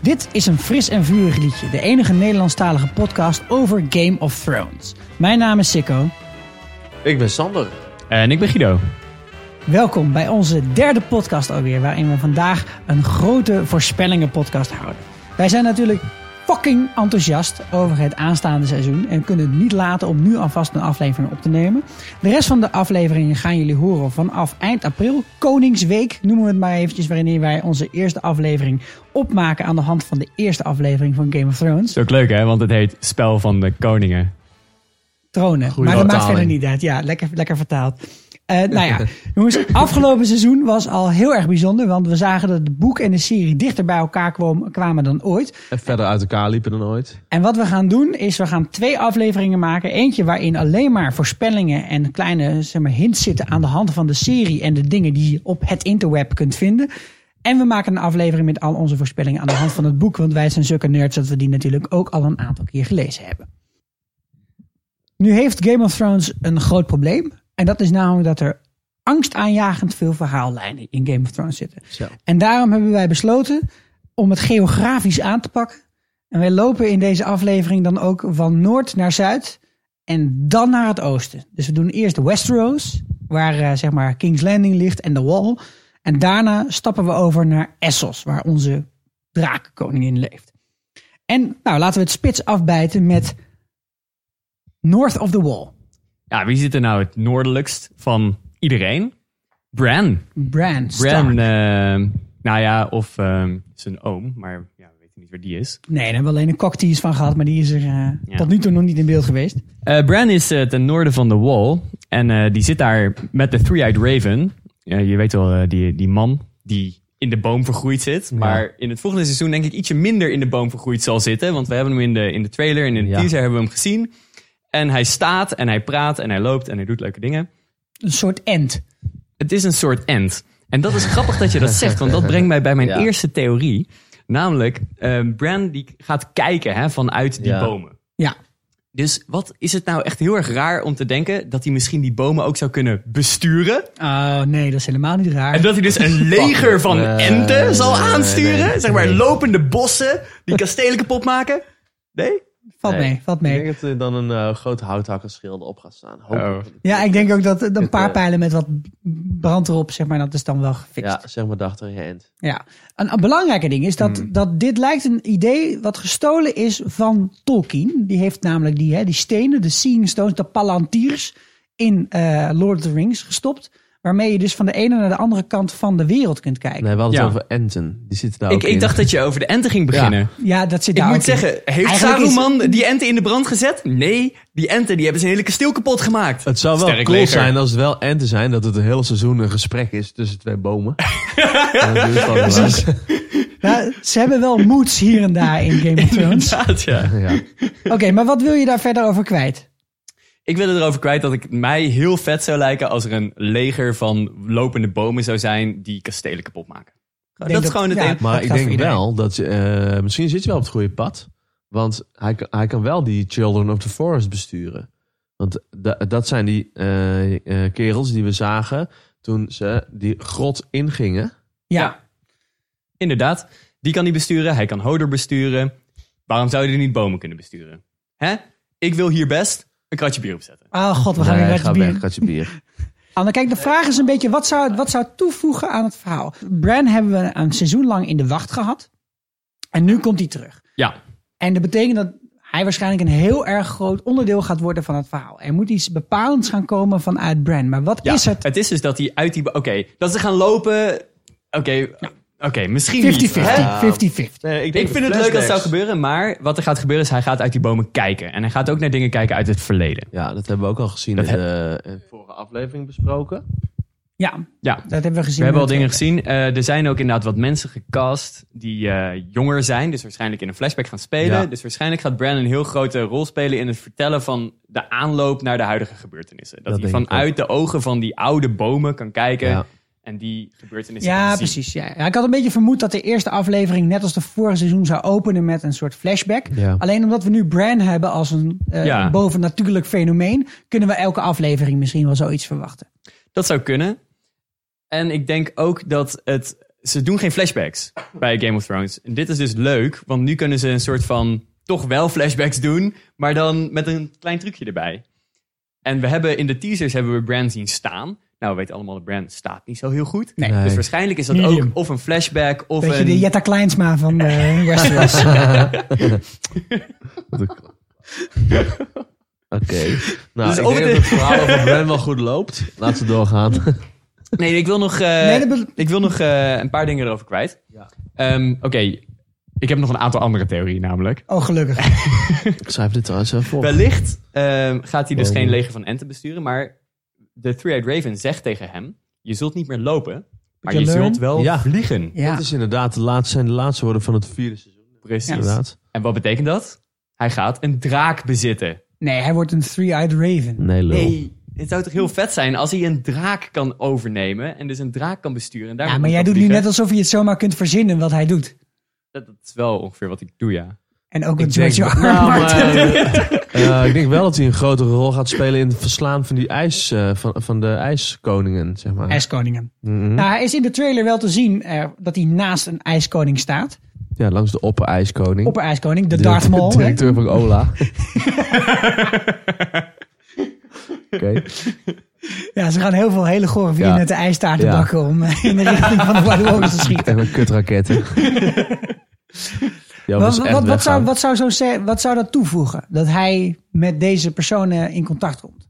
Dit is een fris en vurig liedje, de enige Nederlandstalige podcast over Game of Thrones. Mijn naam is Sikko. Ik ben Sander. En ik ben Guido. Welkom bij onze derde podcast alweer, waarin we vandaag een grote voorspellingenpodcast houden. Wij zijn natuurlijk fucking enthousiast over het aanstaande seizoen en kunnen het niet laten om nu alvast een aflevering op te nemen. De rest van de afleveringen gaan jullie horen vanaf eind april, Koningsweek noemen we het maar eventjes, waarin wij onze eerste aflevering opmaken aan de hand van de eerste aflevering van Game of Thrones. Is ook leuk hè, want het heet Spel van de Koningen. Tronen. Goeie maar dat maakt vertaling. verder niet uit. Ja, lekker, lekker vertaald. Eh, nou ja, jongens, afgelopen seizoen was al heel erg bijzonder. Want we zagen dat het boek en de serie dichter bij elkaar kwam- kwamen dan ooit. En verder uit elkaar liepen dan ooit. En wat we gaan doen is, we gaan twee afleveringen maken. Eentje waarin alleen maar voorspellingen en kleine zeg maar, hints zitten aan de hand van de serie. En de dingen die je op het interweb kunt vinden. En we maken een aflevering met al onze voorspellingen aan de hand van het boek. Want wij zijn zulke nerds dat we die natuurlijk ook al een aantal keer gelezen hebben. Nu heeft Game of Thrones een groot probleem. En dat is namelijk dat er angstaanjagend veel verhaallijnen in Game of Thrones zitten. Zo. En daarom hebben wij besloten om het geografisch aan te pakken. En wij lopen in deze aflevering dan ook van noord naar zuid en dan naar het oosten. Dus we doen eerst Westeros, waar eh, zeg maar King's Landing ligt en de Wall. En daarna stappen we over naar Essos, waar onze drakenkoningin leeft. En nou, laten we het spits afbijten met North of the Wall. Ja, wie zit er nou het noordelijkst van iedereen? Bran. Bran Stark. Bran, ehm, nou ja, of ehm, zijn oom, maar ja, we weten niet waar die is. Nee, daar hebben we alleen een cocktease van gehad, maar die is er eh, Ja. tot nu toe nog niet in beeld geweest. Eh, Bran is eh, ten noorden van de Wall. En eh, die zit daar met de Three-Eyed Raven. Eh, je weet wel, eh, die, die man die in de boom vergroeid zit. Maar in het volgende seizoen denk ik ietsje minder in de boom vergroeid zal zitten. Want we hebben hem in de, in de trailer en in de Ja. teaser hebben we hem gezien. En hij staat en hij praat en hij loopt en hij doet leuke dingen. Een soort end. Het is een soort end. En dat is grappig dat je dat zegt, want dat brengt mij bij mijn Ja. eerste theorie. Namelijk, ehm Bran die gaat kijken hè, vanuit die Ja. bomen. Ja. Dus wat is het nou echt heel erg raar om te denken dat hij misschien die bomen ook zou kunnen besturen? Oh nee, dat is helemaal niet raar. En dat hij dus een leger van Nee, Eh, enten zal nee, nee, aansturen? nee. zeg maar lopende bossen die kastelen kapot maken? Nee? valt Nee. mee, valt Ik mee. denk dat er dan een eh, grote houthakkerschilder op gaat staan. Hopelijk. Ja, ik denk ook dat eh, een paar eh, pijlen met wat brand erop, zeg maar, dat is dan wel gefixt. Ja, Ja. zeg maar dachter je end. Een, een belangrijke ding is dat, dat dit lijkt een idee wat gestolen is van Tolkien. Die heeft namelijk die, hè, die stenen, de Seeing Stones, de Palantirs in eh, Lord of the Rings gestopt. Waarmee je dus van de ene naar de andere kant van de wereld kunt kijken. Nee, we hadden het Ja. over enten. Die zitten daar Ik, ook in. ik dacht dat je over de enten ging beginnen. Ja, dat zit Ik daar moet ook in. zeggen, heeft Eigenlijk is- Saruman die enten in de brand gezet? Nee, die enten die hebben zijn hele kasteel kapot gemaakt. Het zou wel Sterk cool leger. zijn als het wel enten zijn dat het een hele seizoen een gesprek is tussen twee bomen. En dat is dan wel eens. Nou, ze hebben wel moods hier en daar in Game of Thrones. Inderdaad, ja. ja. Oké, maar wat wil je daar verder over kwijt? Ik wil het erover kwijt dat ik mij heel vet zou lijken als er een leger van lopende bomen zou zijn die kastelen kapot maken. Dat, denk is dat- gewoon het ja. enige. Dat Maar gaat ik voor denk iedereen. wel dat je, eh, misschien zit je wel op het goede pad. Want hij, kan- hij kan wel die Children of the Forest besturen. Want da- dat zijn die eh, eh, kerels die we zagen toen ze die grot ingingen. Ja, Inderdaad, die kan hij besturen, hij kan Hodor besturen. Waarom zou hij niet bomen kunnen besturen? Hè? Ik wil hier best een kratje bier opzetten. Oh god, we gaan Nee, weer ga weg. weg, bier. katje bier. Anne, kijk, de vraag is een beetje, wat zou, wat zou toevoegen aan het verhaal? Bran hebben we een seizoen lang in de wacht gehad. En nu komt hij terug. Ja, En dat betekent dat hij waarschijnlijk een heel erg groot onderdeel gaat worden van het verhaal. Er moet iets bepalends gaan komen vanuit Bran. Maar wat ja. is het? is dus dat hij uit die... bo- Oké, dat ze gaan lopen... Oké, oké, misschien 50-50. 50-50. niet. hè? Nee, Ik vind het leuk dat het zou gebeuren, maar wat er gaat gebeuren is hij gaat uit die bomen kijken. En hij gaat ook naar dingen kijken uit het verleden. Ja, dat hebben we ook al gezien Dat in de in de vorige aflevering besproken. Ja, Ja, dat hebben we gezien. We hebben al in dingen het- gezien. Eh, er zijn ook inderdaad wat mensen gecast die eh, jonger zijn. Dus waarschijnlijk in een flashback gaan spelen. Ja. Dus waarschijnlijk gaat Bran een heel grote rol spelen in het vertellen van de aanloop naar de huidige gebeurtenissen. Dat, Dat hij denk ik vanuit de ogen van die oude bomen kan kijken Ja. en die gebeurtenissen kan Ja, zien. precies. Ja. Ja, ik had een beetje vermoed dat de eerste aflevering, net als de vorige seizoen, zou openen met een soort flashback. Ja. Alleen omdat we nu Bran hebben als een eh, Ja. bovennatuurlijk fenomeen, kunnen we elke aflevering misschien wel zoiets verwachten. Dat zou kunnen. En ik denk ook dat het ze doen geen flashbacks bij Game of Thrones. En dit is dus leuk, want nu kunnen ze een soort van toch wel flashbacks doen, maar dan met een klein trucje erbij. En we hebben in de teasers hebben we Bran zien staan. Nou, we weten allemaal, dat Bran staat niet zo heel goed. Nee. Dus waarschijnlijk is dat ook Medium. of een flashback of Beetje een... de Jetta Kleinsma van eh, Westeros. De- Oké. Nou, Dus ik ook denk de- dat het verhaal over Bran wel goed loopt. Laten we doorgaan. Nee, ik wil nog, eh, Nee, dat be- ik wil nog eh, een paar dingen erover kwijt. Ja. Ehm, Oké, ik heb nog een aantal andere theorieën namelijk. Oh, gelukkig. Ik schrijf dit trouwens even op. Wellicht ehm, gaat hij dus Oh. geen leger van enten besturen, maar de Three-Eyed Raven zegt tegen hem, je zult niet meer lopen, maar je, Je learn. zult wel Ja. vliegen. Ja. Dat is inderdaad de laatste, zijn de laatste woorden van het vierde seizoen. Precies. Inderdaad. En wat betekent dat? Hij gaat een draak bezitten. Nee, hij wordt een three-eyed raven. Nee, lul. Nee, het zou toch heel vet zijn als hij een draak kan overnemen en dus een draak kan besturen. En daarmee Ja, maar jij kan doet nu vliegen. net alsof je het zomaar kunt verzinnen wat hij doet. Dat, dat is wel ongeveer wat ik doe, ja. En ook Ik het met je denk- arm. Nou, maar- maar, eh, eh, ik denk wel dat hij een grotere rol gaat spelen in het verslaan van, die ijs, eh, van, van de ijskoningen, zeg maar. IJskoningen. Mhm. Nou, hij is in de trailer wel te zien eh, dat hij naast een ijskoning staat. Ja, langs de opper-ijskoning. Opper-ijskoning, de Darth Maul. hè? directeur van Ola. Oké. Ja, ze gaan heel veel hele gore vrienden Ja. uit de ijstaarten Ja. bakken om eh, in de richting van de White Walkers te schieten. Echt met kutraketten. ja, Wat, wat, wat, zou, wat, zou zo, ze- wat zou dat toevoegen? Dat hij met deze personen in contact komt.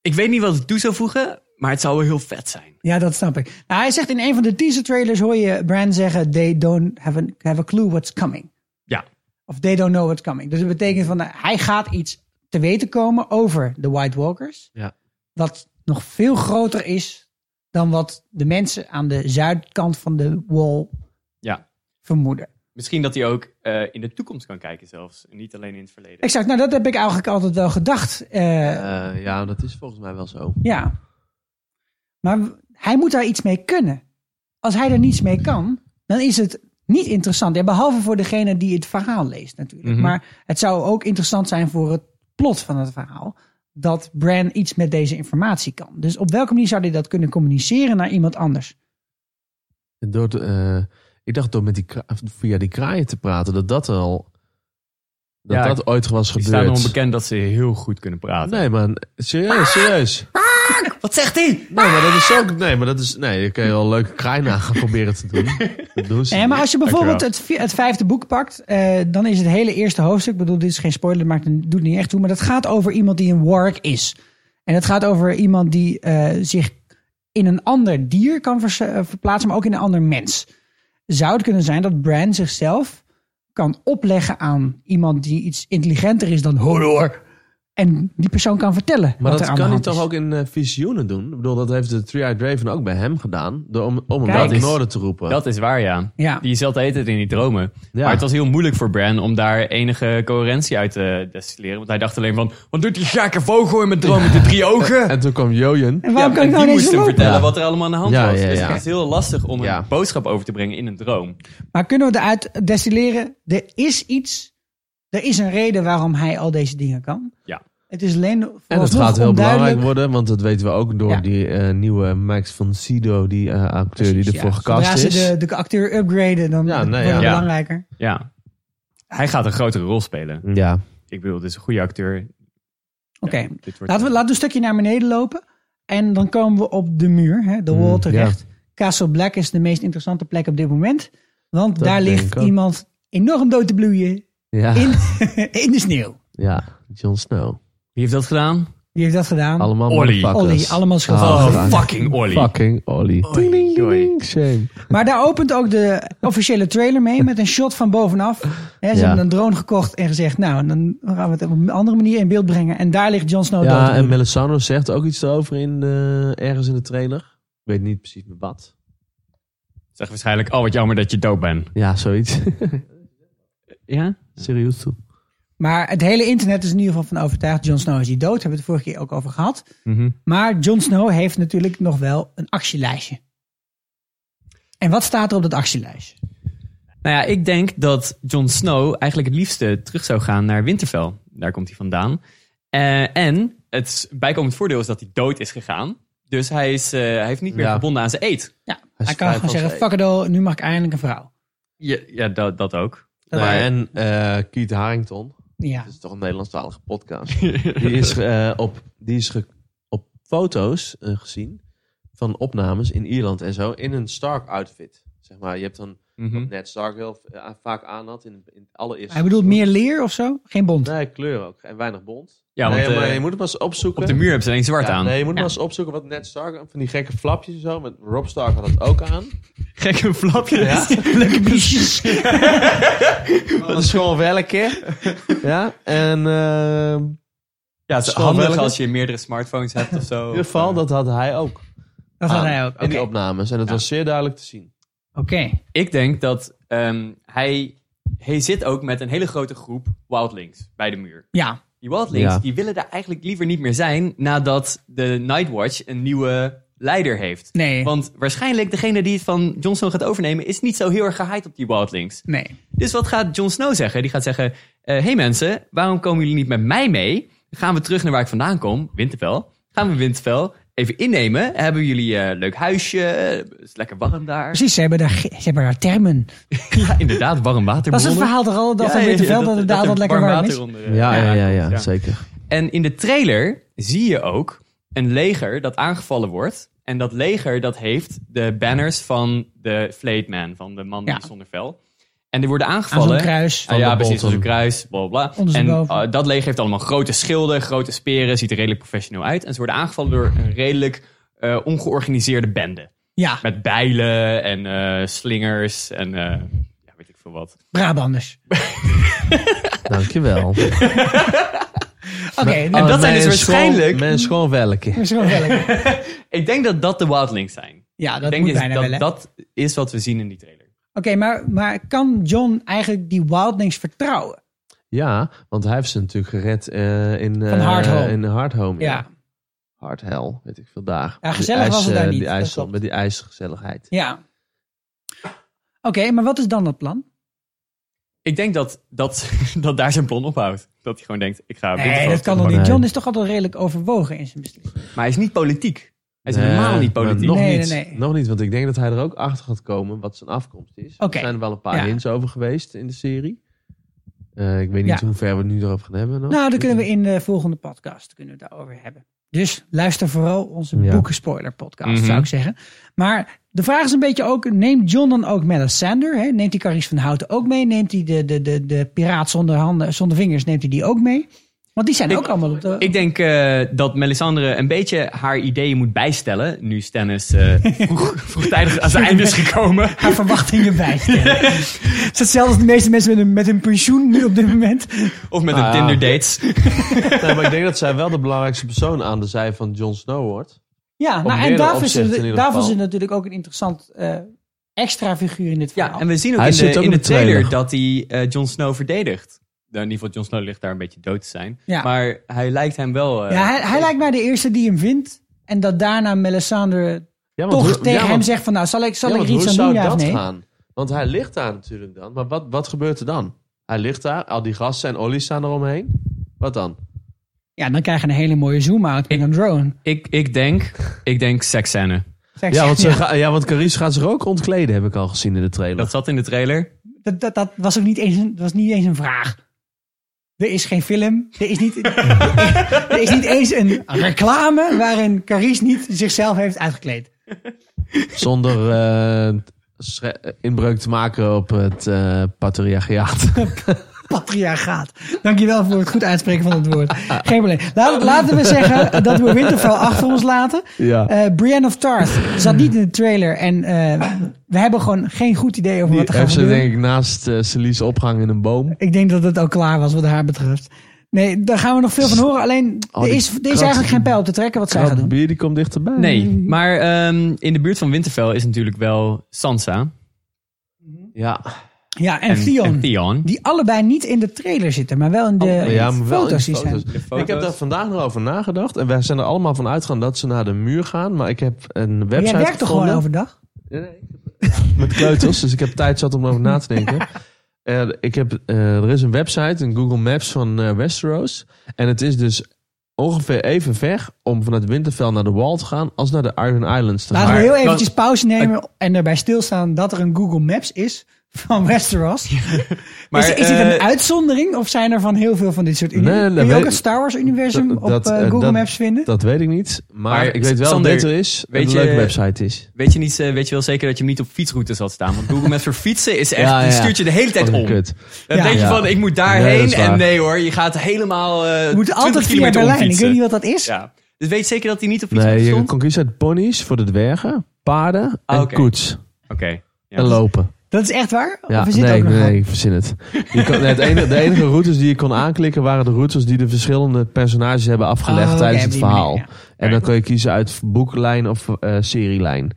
Ik weet niet wat het toe zou voegen, maar het zou wel heel vet zijn. Ja, dat snap ik. Nou, hij zegt in een van de teaser trailers hoor je Bran zeggen... They don't have a, have a clue what's coming. Ja. Of they don't know what's coming. Dus dat betekent van nou, hij gaat iets te weten komen over de White Walkers. Ja. Wat nog veel groter is dan wat de mensen aan de zuidkant van de wall Ja. vermoeden. Misschien dat hij ook eh, in de toekomst kan kijken zelfs. En niet alleen in het verleden. Exact, nou dat heb ik eigenlijk altijd wel gedacht. eh, Eh, ja, dat is volgens mij wel zo. Ja. Maar w- hij moet daar iets mee kunnen. Als hij er niets mee kan, dan is het niet interessant. Ja, behalve voor degene die het verhaal leest natuurlijk. Mhm. Maar het zou ook interessant zijn voor het plot van het verhaal. Dat Bran iets met deze informatie kan. Dus op welke manier zou hij dat kunnen communiceren naar iemand anders? En Door te, eh, ik dacht door met die, kra- via die kraaien te praten, dat dat al... Dat Ja, dat ooit was Het gebeurd. is daarom onbekend dat ze heel goed kunnen praten. Nee, maar serieus, serieus. Wat zegt hij? Nee, maar dat is ook. Nee, maar dat is. Nee, dan kun je wel een leuke kraai na gaan proberen te doen. Dat doen ze. Nee, Eh, maar als je bijvoorbeeld dankjewel. het, vi- het vijfde boek pakt, eh, dan is het hele eerste hoofdstuk. Ik bedoel, dit is geen spoiler, maakt een- doet niet echt toe. Maar dat gaat over iemand die een warg is. En het gaat over iemand die eh, zich in een ander dier kan vers- eh, verplaatsen, maar ook in een ander mens. Zou het kunnen zijn dat Bran zichzelf kan opleggen aan iemand die iets intelligenter is dan Hodor. En die persoon kan vertellen. wat Maar dat er aan de kan hij hand is. toch ook in eh, visioenen doen? Ik bedoel, dat heeft de Three-Eyed Raven ook bij hem gedaan. Door, om, om hem Kijk dat in eens. orde te roepen. Dat is waar, ja. Ja. Die zat de hele tijd in die dromen. Ja. Maar het was heel moeilijk voor Bran om daar enige coherentie uit eh, te destilleren. Want hij dacht alleen van, wat doet die gekke vogel in mijn droom met de drie ogen? En toen kwam Jojen. En waarom Ja, kan ik en nou die ineens moest hem lopen? vertellen Ja. wat er allemaal aan de hand Ja, was. ja, Dus ja. het is heel lastig om Ja. een boodschap over te brengen in een droom. Maar kunnen we eruit destilleren? Er is iets. Er is een reden waarom hij al deze dingen kan. Ja. Het is alleen. En het vooralsnog gaat heel belangrijk onduidelijk. worden, want dat weten we ook door Ja. die eh, nieuwe Max van Sido, die eh, acteur die Precies, ervoor ja. gecast Zodra is. ze de, de acteur upgraden, dan Ja, wordt nee, het ja. Ja. belangrijker. Ja. Hij gaat een grotere rol spelen. Ja, Ik bedoel, dit is een goede acteur. Oké. Ja, dit Laten wordt- we laten we een stukje naar beneden lopen. En dan komen we op de muur, hè, de wall Mm, terecht. Castle Black is de meest interessante plek op dit moment. Want Dat daar denk ligt ik ook. iemand enorm dood te bloeien ja, in, in de sneeuw. ja. Jon Snow. Wie heeft dat gedaan? Wie heeft dat gedaan? Allemaal Ollie. motherfuckers. Ollie, allemaal schuldig. Ah, Oh, fuck. fucking Ollie. Fucking Ollie. Oei, Ding, ding, ding, oei. ding. Shame. Maar daar opent ook de officiële trailer mee met een shot van bovenaf. Hè, ze Ja. hebben een drone gekocht en gezegd, nou, dan gaan we het op een andere manier in beeld brengen. En daar ligt Jon Snow Ja, dood. en Melisandre zegt ook iets erover in de, ergens in de trailer. Ik weet niet precies meer wat. Zeg waarschijnlijk, oh wat jammer dat je dood bent. Ja, zoiets. Ja? Serieus toe. Maar het hele internet is in ieder geval van overtuigd, Jon Snow is die dood. Hebben we het vorige keer ook over gehad. Maar Jon Snow heeft natuurlijk nog wel een actielijstje. En wat staat er op dat actielijstje? Nou ja, ik denk dat Jon Snow eigenlijk het liefste terug zou gaan naar Winterfell. Daar komt hij vandaan. Eh, en het bijkomend voordeel is dat hij dood is gegaan. Dus hij, is, eh, hij heeft niet meer Ja. gebonden aan zijn eet. Ja, is hij, kan vrij gewoon van zeggen, zee. fuck it all, nu mag ik eindelijk een vrouw. Ja, ja dat, dat ook. Dat Nou, was- en eh Keith Harrington, ja. dat is toch een Nederlandstalige podcast. die is, eh, op, die is ge- op foto's eh, gezien van opnames in Ierland en zo in een Stark outfit. Zeg maar, je hebt dan Mhm. net Stark heel eh, vaak aan had in, in het allereerste. Hij bedoelt meer leer of zo? Geen bond. Nee, kleur ook. En weinig bont. Ja, want nee, maar eh, je moet het maar eens opzoeken. op de muur hebben ze alleen zwart Ja, aan. Nee, je moet maar eens opzoeken wat Ned Stark... Van die gekke flapjes en zo. Met Rob Stark had dat ook aan. Gek een flapje. Ja. Leuke biesjes. Dat is gewoon welke. ja, en eh, Ja, het is Schoon handig welke? als je meerdere smartphones hebt of zo. in ieder geval, Of, dat had hij ook. Dat had aan hij ook. Oké. In die opnames. Ah. En dat was zeer duidelijk te zien. Oké. Ik denk dat ehm, hij, hij zit ook met een hele grote groep wildlings bij de muur. Ja. Die wildlings Ja. die willen daar eigenlijk liever niet meer zijn nadat de Nightwatch een nieuwe leider heeft. Nee. Want waarschijnlijk degene die het van Jon Snow gaat overnemen is niet zo heel erg gehaaid op die wildlings. Nee. Dus wat gaat Jon Snow zeggen? Die gaat zeggen, eh, hey mensen, waarom komen jullie niet met mij mee? Dan gaan we terug naar waar ik vandaan kom, Winterfell. Gaan we Winterfell even innemen. Hebben jullie eh, een leuk huisje, het is lekker warm daar. Precies, ze hebben daar, ge- ze hebben daar termen. Ja, inderdaad, warm water. Dat is het verhaal toch al, dat van Winterveld, dat het daar altijd lekker warm is. eh, zeker. En in de trailer zie je ook een leger dat aangevallen wordt. En dat leger dat heeft de banners van de Flayed Man, van de man Ja. die zonder vel. En die worden Aan zo'n aangevallen. kruis. Ah, ja, de precies, Bolton. als een kruis, bla bla. bla. En Ondersteboven. eh, dat leger heeft allemaal grote schilden, grote speren, ziet er redelijk professioneel uit. En ze worden aangevallen door een redelijk eh, ongeorganiseerde bende. Ja, Met bijlen en eh, slingers en eh, ja, weet ik veel wat. Brabanders. Dankjewel. Oké, okay, En dat dat zijn dus waarschijnlijk- Mensen gewoon welke. is wel wel. Ik denk dat dat de wildlings zijn. Ja, Ik dat denk moet is- bijna dat, wel. hè. Oké, dat is wat we zien in die trailer. maar, maar kan John eigenlijk die Wildlings vertrouwen? Ja, want hij heeft ze natuurlijk gered eh, in, eh, Van Hard Home. in Hard Home. Ja. Ja. Hard Hell, weet ik veel dagen. Ja, gezellig was het daar niet, Die dat ijs, klopt. met die ijsgezelligheid. Ja. Oké, maar wat is dan dat plan? Ik denk dat, dat, dat daar zijn plan ophoudt. Dat hij gewoon denkt, ik ga... Nee, Winterfell dat kan terug. nog Nee. niet. John is toch altijd redelijk overwogen in zijn beslissing. Maar hij is niet politiek. Hij is Nee, helemaal niet politiek. maar Nog, Nee, niet, nee, nee. nog niet, want ik denk dat hij er ook achter gaat komen wat zijn afkomst is. Oké. Er zijn wel een paar Ja. hints over geweest in de serie. Eh, ik weet niet Ja. hoe ver we nu erop gaan hebben. nog. Nou, dan kunnen we in de volgende podcast kunnen we het daarover hebben. Dus luister vooral onze Ja. boekenspoiler podcast, Mhm. zou ik zeggen. Maar de vraag is een beetje ook, neemt John dan ook Melisandre? Hè? Neemt hij Carice van Houten ook mee? Neemt hij de, de, de, de piraat zonder, handen, zonder vingers, neemt hij die ook mee? Want die zijn Ik- ook allemaal op de... Ik denk eh, dat Melisandre een beetje haar ideeën moet bijstellen. Nu Stannis eh, vroeg, vroegtijdig aan zijn einde is gekomen. haar verwachtingen bijstellen. Het is hetzelfde als de meeste mensen met hun, met hun pensioen nu op dit moment. Of met Ah, een ja. Tinder dates. Nee, maar ik denk dat zij wel de belangrijkste persoon aan de zij van Jon Snow wordt. Ja, nou, en meerdere daarvoor is, opzichten in het, ieder daarvoor is geval. het natuurlijk ook een interessant eh, extra figuur in dit verhaal. Ja, en we zien ook Hij in de, zit ook in in de de trailer. trailer dat hij eh Jon Snow verdedigt. Nou, in ieder geval, Jon Snow ligt daar een beetje dood te zijn. Ja. Maar hij lijkt hem wel... eh, Ja, hij, hij lijkt mij de eerste die hem vindt. En dat daarna Melisandre Ja, want toch hoe- tegen ja, hem want- zegt van... Nou, zal ik, zal ja, ik want er iets hoe aan zou doen, ja of dat nee? gaan? Want hij ligt daar natuurlijk dan. Maar wat, wat gebeurt er dan? Hij ligt daar, al die gasten en olies staan eromheen. Wat dan? Ja, dan krijg je een hele mooie zoom-out met een drone. Ik, ik denk, ik denk seksscène. Zeg, Ja, want, ze ja, ga- ja, want Carice gaat zich ook ontkleden, heb ik al gezien in de trailer. Dat zat in de trailer. dat, dat, dat was ook niet eens, een- dat was niet eens een vraag. Er is geen film. Er is niet, er is niet eens een reclame waarin Carice niet zichzelf heeft uitgekleed. Zonder eh, schre- inbreuk te maken op het eh patriarchaat. Patriarchaat. Dankjewel voor het goed uitspreken van het woord. Geen probleem. Laat- laten we zeggen dat we Winterfell achter ons laten. ja. Eh Brienne of Tarth zat niet in de trailer. En eh, we hebben gewoon geen goed idee over Die wat er gaat heeft ze gebeuren. denk ik naast eh Celie's opgang in een boom. Ik denk dat het al klaar was wat haar betreft. Nee, daar gaan we nog veel van horen. Alleen, Oh, er die is, er is krat- eigenlijk geen pijl op te trekken wat zij gaat doen. bier die komt dichterbij. Nee, Hmm. maar ehm, in de buurt van Winterfell is natuurlijk wel Sansa. Ja, Ja, en, Theon. En Theon. Die allebei niet in de trailer zitten, maar wel in de Oh, ja maar wel in foto's de die zijn. foto's. Ik heb daar vandaag nog over nagedacht. En wij zijn er allemaal van uitgegaan dat ze naar de muur gaan. Maar ik heb een Maar website jij werkt toch gewoon gevonden. overdag? Nee, nee, ik eh, heb- Met kleuters, dus ik heb tijd zat om over na te denken. Eh, ik heb, eh, er is een website, een Google Maps van eh, Westeros. En het is dus ongeveer even ver om vanuit Winterfell naar de Wall te gaan als naar de Iron Islands te Laten gaan. we Maar- heel eventjes pauze nemen en daarbij stilstaan dat er een Google Maps is van Westeros. Maar, is, is dit eh, een uitzondering of zijn er van heel veel van dit soort Nee, universum? nee, Kun je weet- ook het Star Wars universum Dat- op dat, eh, eh, Google dat- Maps vinden? Dat weet ik niet, maar, Maar ik weet wel Sander, dat dit er is en weet een je- leuke website is. Weet je, niet, eh, weet je wel zeker dat je hem niet op fietsroutes had staan? Want Google Maps voor fietsen is echt, Ja, die ja. stuurt je de hele tijd Wat een om. Oh, kut. Dan Ja. denk je Ja. van, ik Nee, moet dat daarheen. is waar. en nee hoor, je gaat helemaal eh We moeten 20 altijd via kilometer Berlijn. Ik omfietsen. weet niet wat dat is. Ja. Dus weet zeker dat hij niet op fietsroutes Nee, je stond? kon kiezen uit ponies voor de dwergen, paarden en Ah, oké. koets. Oké. Ja. En lopen. Dat is echt waar? Ja, of is dit nee, ook nog nee, wat? ik verzin het. Je kon, nee, het enige, de enige routes die je kon aanklikken waren de routes die de verschillende personages hebben afgelegd Oh, oké, tijdens op het die verhaal. manier, En dan kon je kiezen uit boeklijn of eh, serielijn.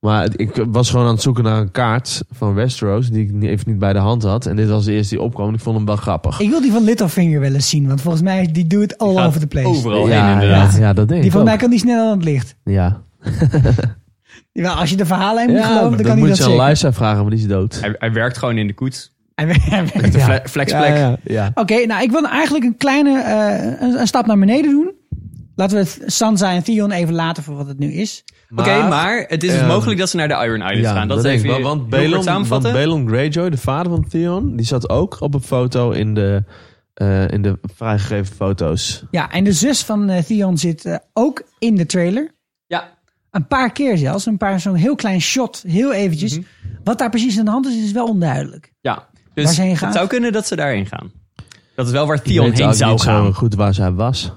Maar het- ik was gewoon aan het zoeken naar een kaart van Westeros die ik niet- even niet bij de hand had. En dit was de eerste die opkwam. en Ik vond hem wel grappig. Ik wil die van Littlefinger wel eens zien, want volgens mij die doet het all gaat over the place. Overal heen ja, inderdaad. ja, ja, dat denk Die ik van ook. mij kan die sneller dan het licht. Ja, Jawel, als je de verhalen hem ja moet geloven, dan dat kan moet hij je dat aan zeker. Lysa vragen, maar die is dood. Hij, hij werkt gewoon in de koets. En- De ja. fle- flexplek. Ja, ja, ja. Oké, nou ik wil eigenlijk een kleine eh, een, een stap naar beneden doen. Laten we het Sansa en Theon even laten voor wat het nu is. Oké, maar het is dus ehm, mogelijk dat ze naar de Iron Islands gaan. Dat, denk even ik wel, Want heel kort Balon, want samenvatten. Balon Greyjoy, de vader van Theon, die zat ook op een foto in de, eh, in de vrijgegeven foto's. Ja, en de zus van eh, Theon zit eh, ook in de trailer. ja, Een paar keer zelfs, een paar zo'n heel klein shot, heel eventjes. Wat daar precies aan de hand is, is wel onduidelijk. ja. Waar Dus ze heen het gaat? zou kunnen dat ze daarheen gaan. Dat is wel waar Ik Theon weet heen ook zou niet zo gaan. goed waar zij was.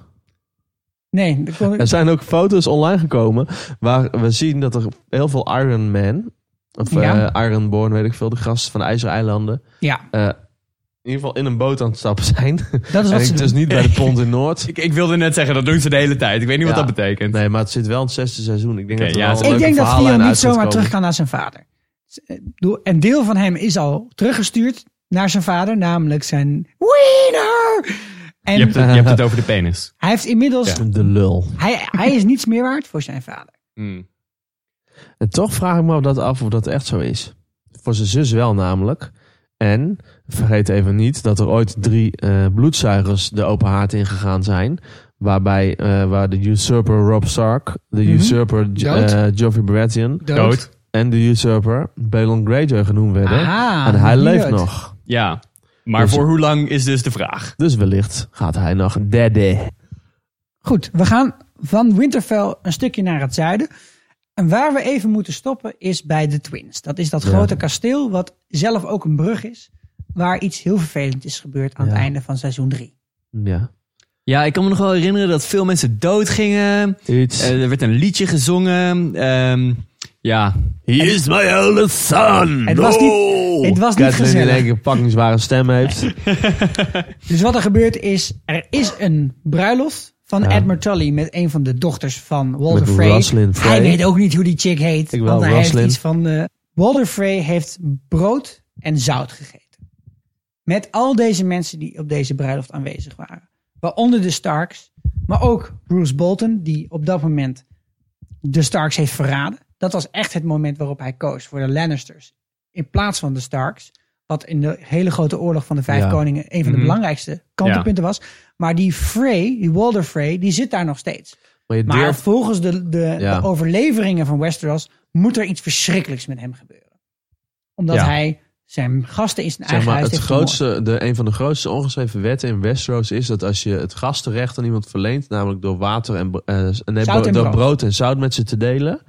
Nee, dat kon- Er zijn ook foto's online gekomen waar we zien dat er heel veel Iron Man, of Ja. eh, Ironborn, weet ik veel, de gasten van de IJzereilanden, ja, eh, in ieder geval in een boot aan het stappen zijn. dat is en wat ze het doen. is niet bij de Pont in Noord. Ik, ik wilde net zeggen, dat doen ze de hele tijd. Ik weet niet Ja. wat dat betekent. Nee, maar het zit wel in het zesde seizoen. Ik denk Oké, dat er ja, wel het is een Ik denk leuke dat Theon verhaallijn niet uit gaat zomaar komen. terug kan naar zijn vader. Ik bedoel, Een deel van hem is al teruggestuurd naar zijn vader, namelijk zijn wiener. En Je, hebt het, je hebt het over de penis. hij heeft inmiddels, De lul. hij, hij is niets meer waard voor zijn vader. Hmm. En toch vraag ik me dat af of dat echt zo is. Voor zijn zus wel namelijk. En vergeet even niet dat er ooit drie eh, bloedzuigers de open haard ingegaan zijn. Waarbij eh, waar de usurper Rob Stark, de Mhm. usurper Jo- Dood. eh, Joffrey Baratheon Dood. en de usurper Balon Greyjoy genoemd werden. Aha, en hij die leeft dood. nog. Ja. Maar Dus- voor hoe lang is dus de vraag? Dus wellicht gaat hij nog derde. Goed, we gaan van Winterfell een stukje naar het zuiden. En waar we even moeten stoppen is bij de Twins. Dat is dat Ja. grote kasteel, wat zelf ook een brug is. Waar iets heel vervelend is gebeurd aan het Ja. einde van seizoen 3. Ja. Ja, ik kan me nog wel herinneren dat veel mensen doodgingen. Iets. Eh, er werd een liedje gezongen. Ehm, ja. He is my eldest son. Het was niet- Oh, het was niet Catelyn in gezellig. één keer een fucking zware stem heeft. Dus wat er gebeurt is, er is een bruiloft van Ja. Edmund Tully met een van de dochters van Walder Met Frey. Roslyn Frey. Hij weet ook niet hoe die chick heet. Ik wel, want hij Roslyn. heeft iets van... eh, Walder Frey heeft brood en zout gegeten. Met al deze mensen die op deze bruiloft aanwezig waren. Waaronder de Starks, maar ook Bruce Bolton, die op dat moment de Starks heeft verraden. Dat was echt het moment waarop hij koos voor de Lannisters in plaats van de Starks. Wat in de hele grote oorlog van de Vijf Ja. Koningen een van de Mhm. belangrijkste kantelpunten was. Maar die Frey, die Walder Frey, die zit daar nog steeds. Maar je Maar durft volgens de, de, Ja. de overleveringen van Westeros moet er iets verschrikkelijks met hem gebeuren. Omdat Ja. hij zijn gasten in zijn Zeg eigen maar, huis het heeft grootste, de, een van de grootste ongeschreven wetten in Westeros is dat als je het gastenrecht aan iemand verleent, namelijk door water en, bro- eh, nee, Zout bro- en door brood. brood. en zout met ze te delen,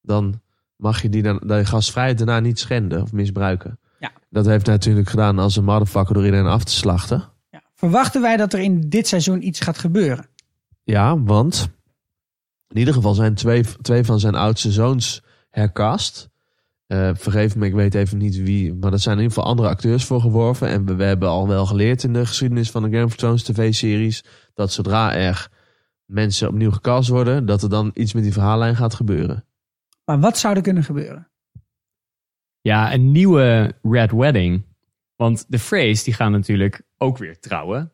dan mag je die, dan, die gastvrijheid daarna niet schenden of misbruiken. Ja. Dat heeft hij natuurlijk gedaan als een motherfucker door iedereen af te slachten. Ja. Verwachten wij dat er in dit seizoen iets gaat gebeuren? Ja, want in ieder geval zijn twee, twee van zijn oudste zoons herkast. Eh, vergeef me, ik weet even niet wie. Maar er zijn in ieder geval andere acteurs voor geworven. En we, we hebben al wel geleerd in de geschiedenis van de Game of Thrones tv-series... dat zodra er mensen opnieuw gecast worden... dat er dan iets met die verhaallijn gaat gebeuren. Maar wat zou er kunnen gebeuren? Ja, een nieuwe Red Wedding. Want de Freys die gaan natuurlijk ook weer trouwen.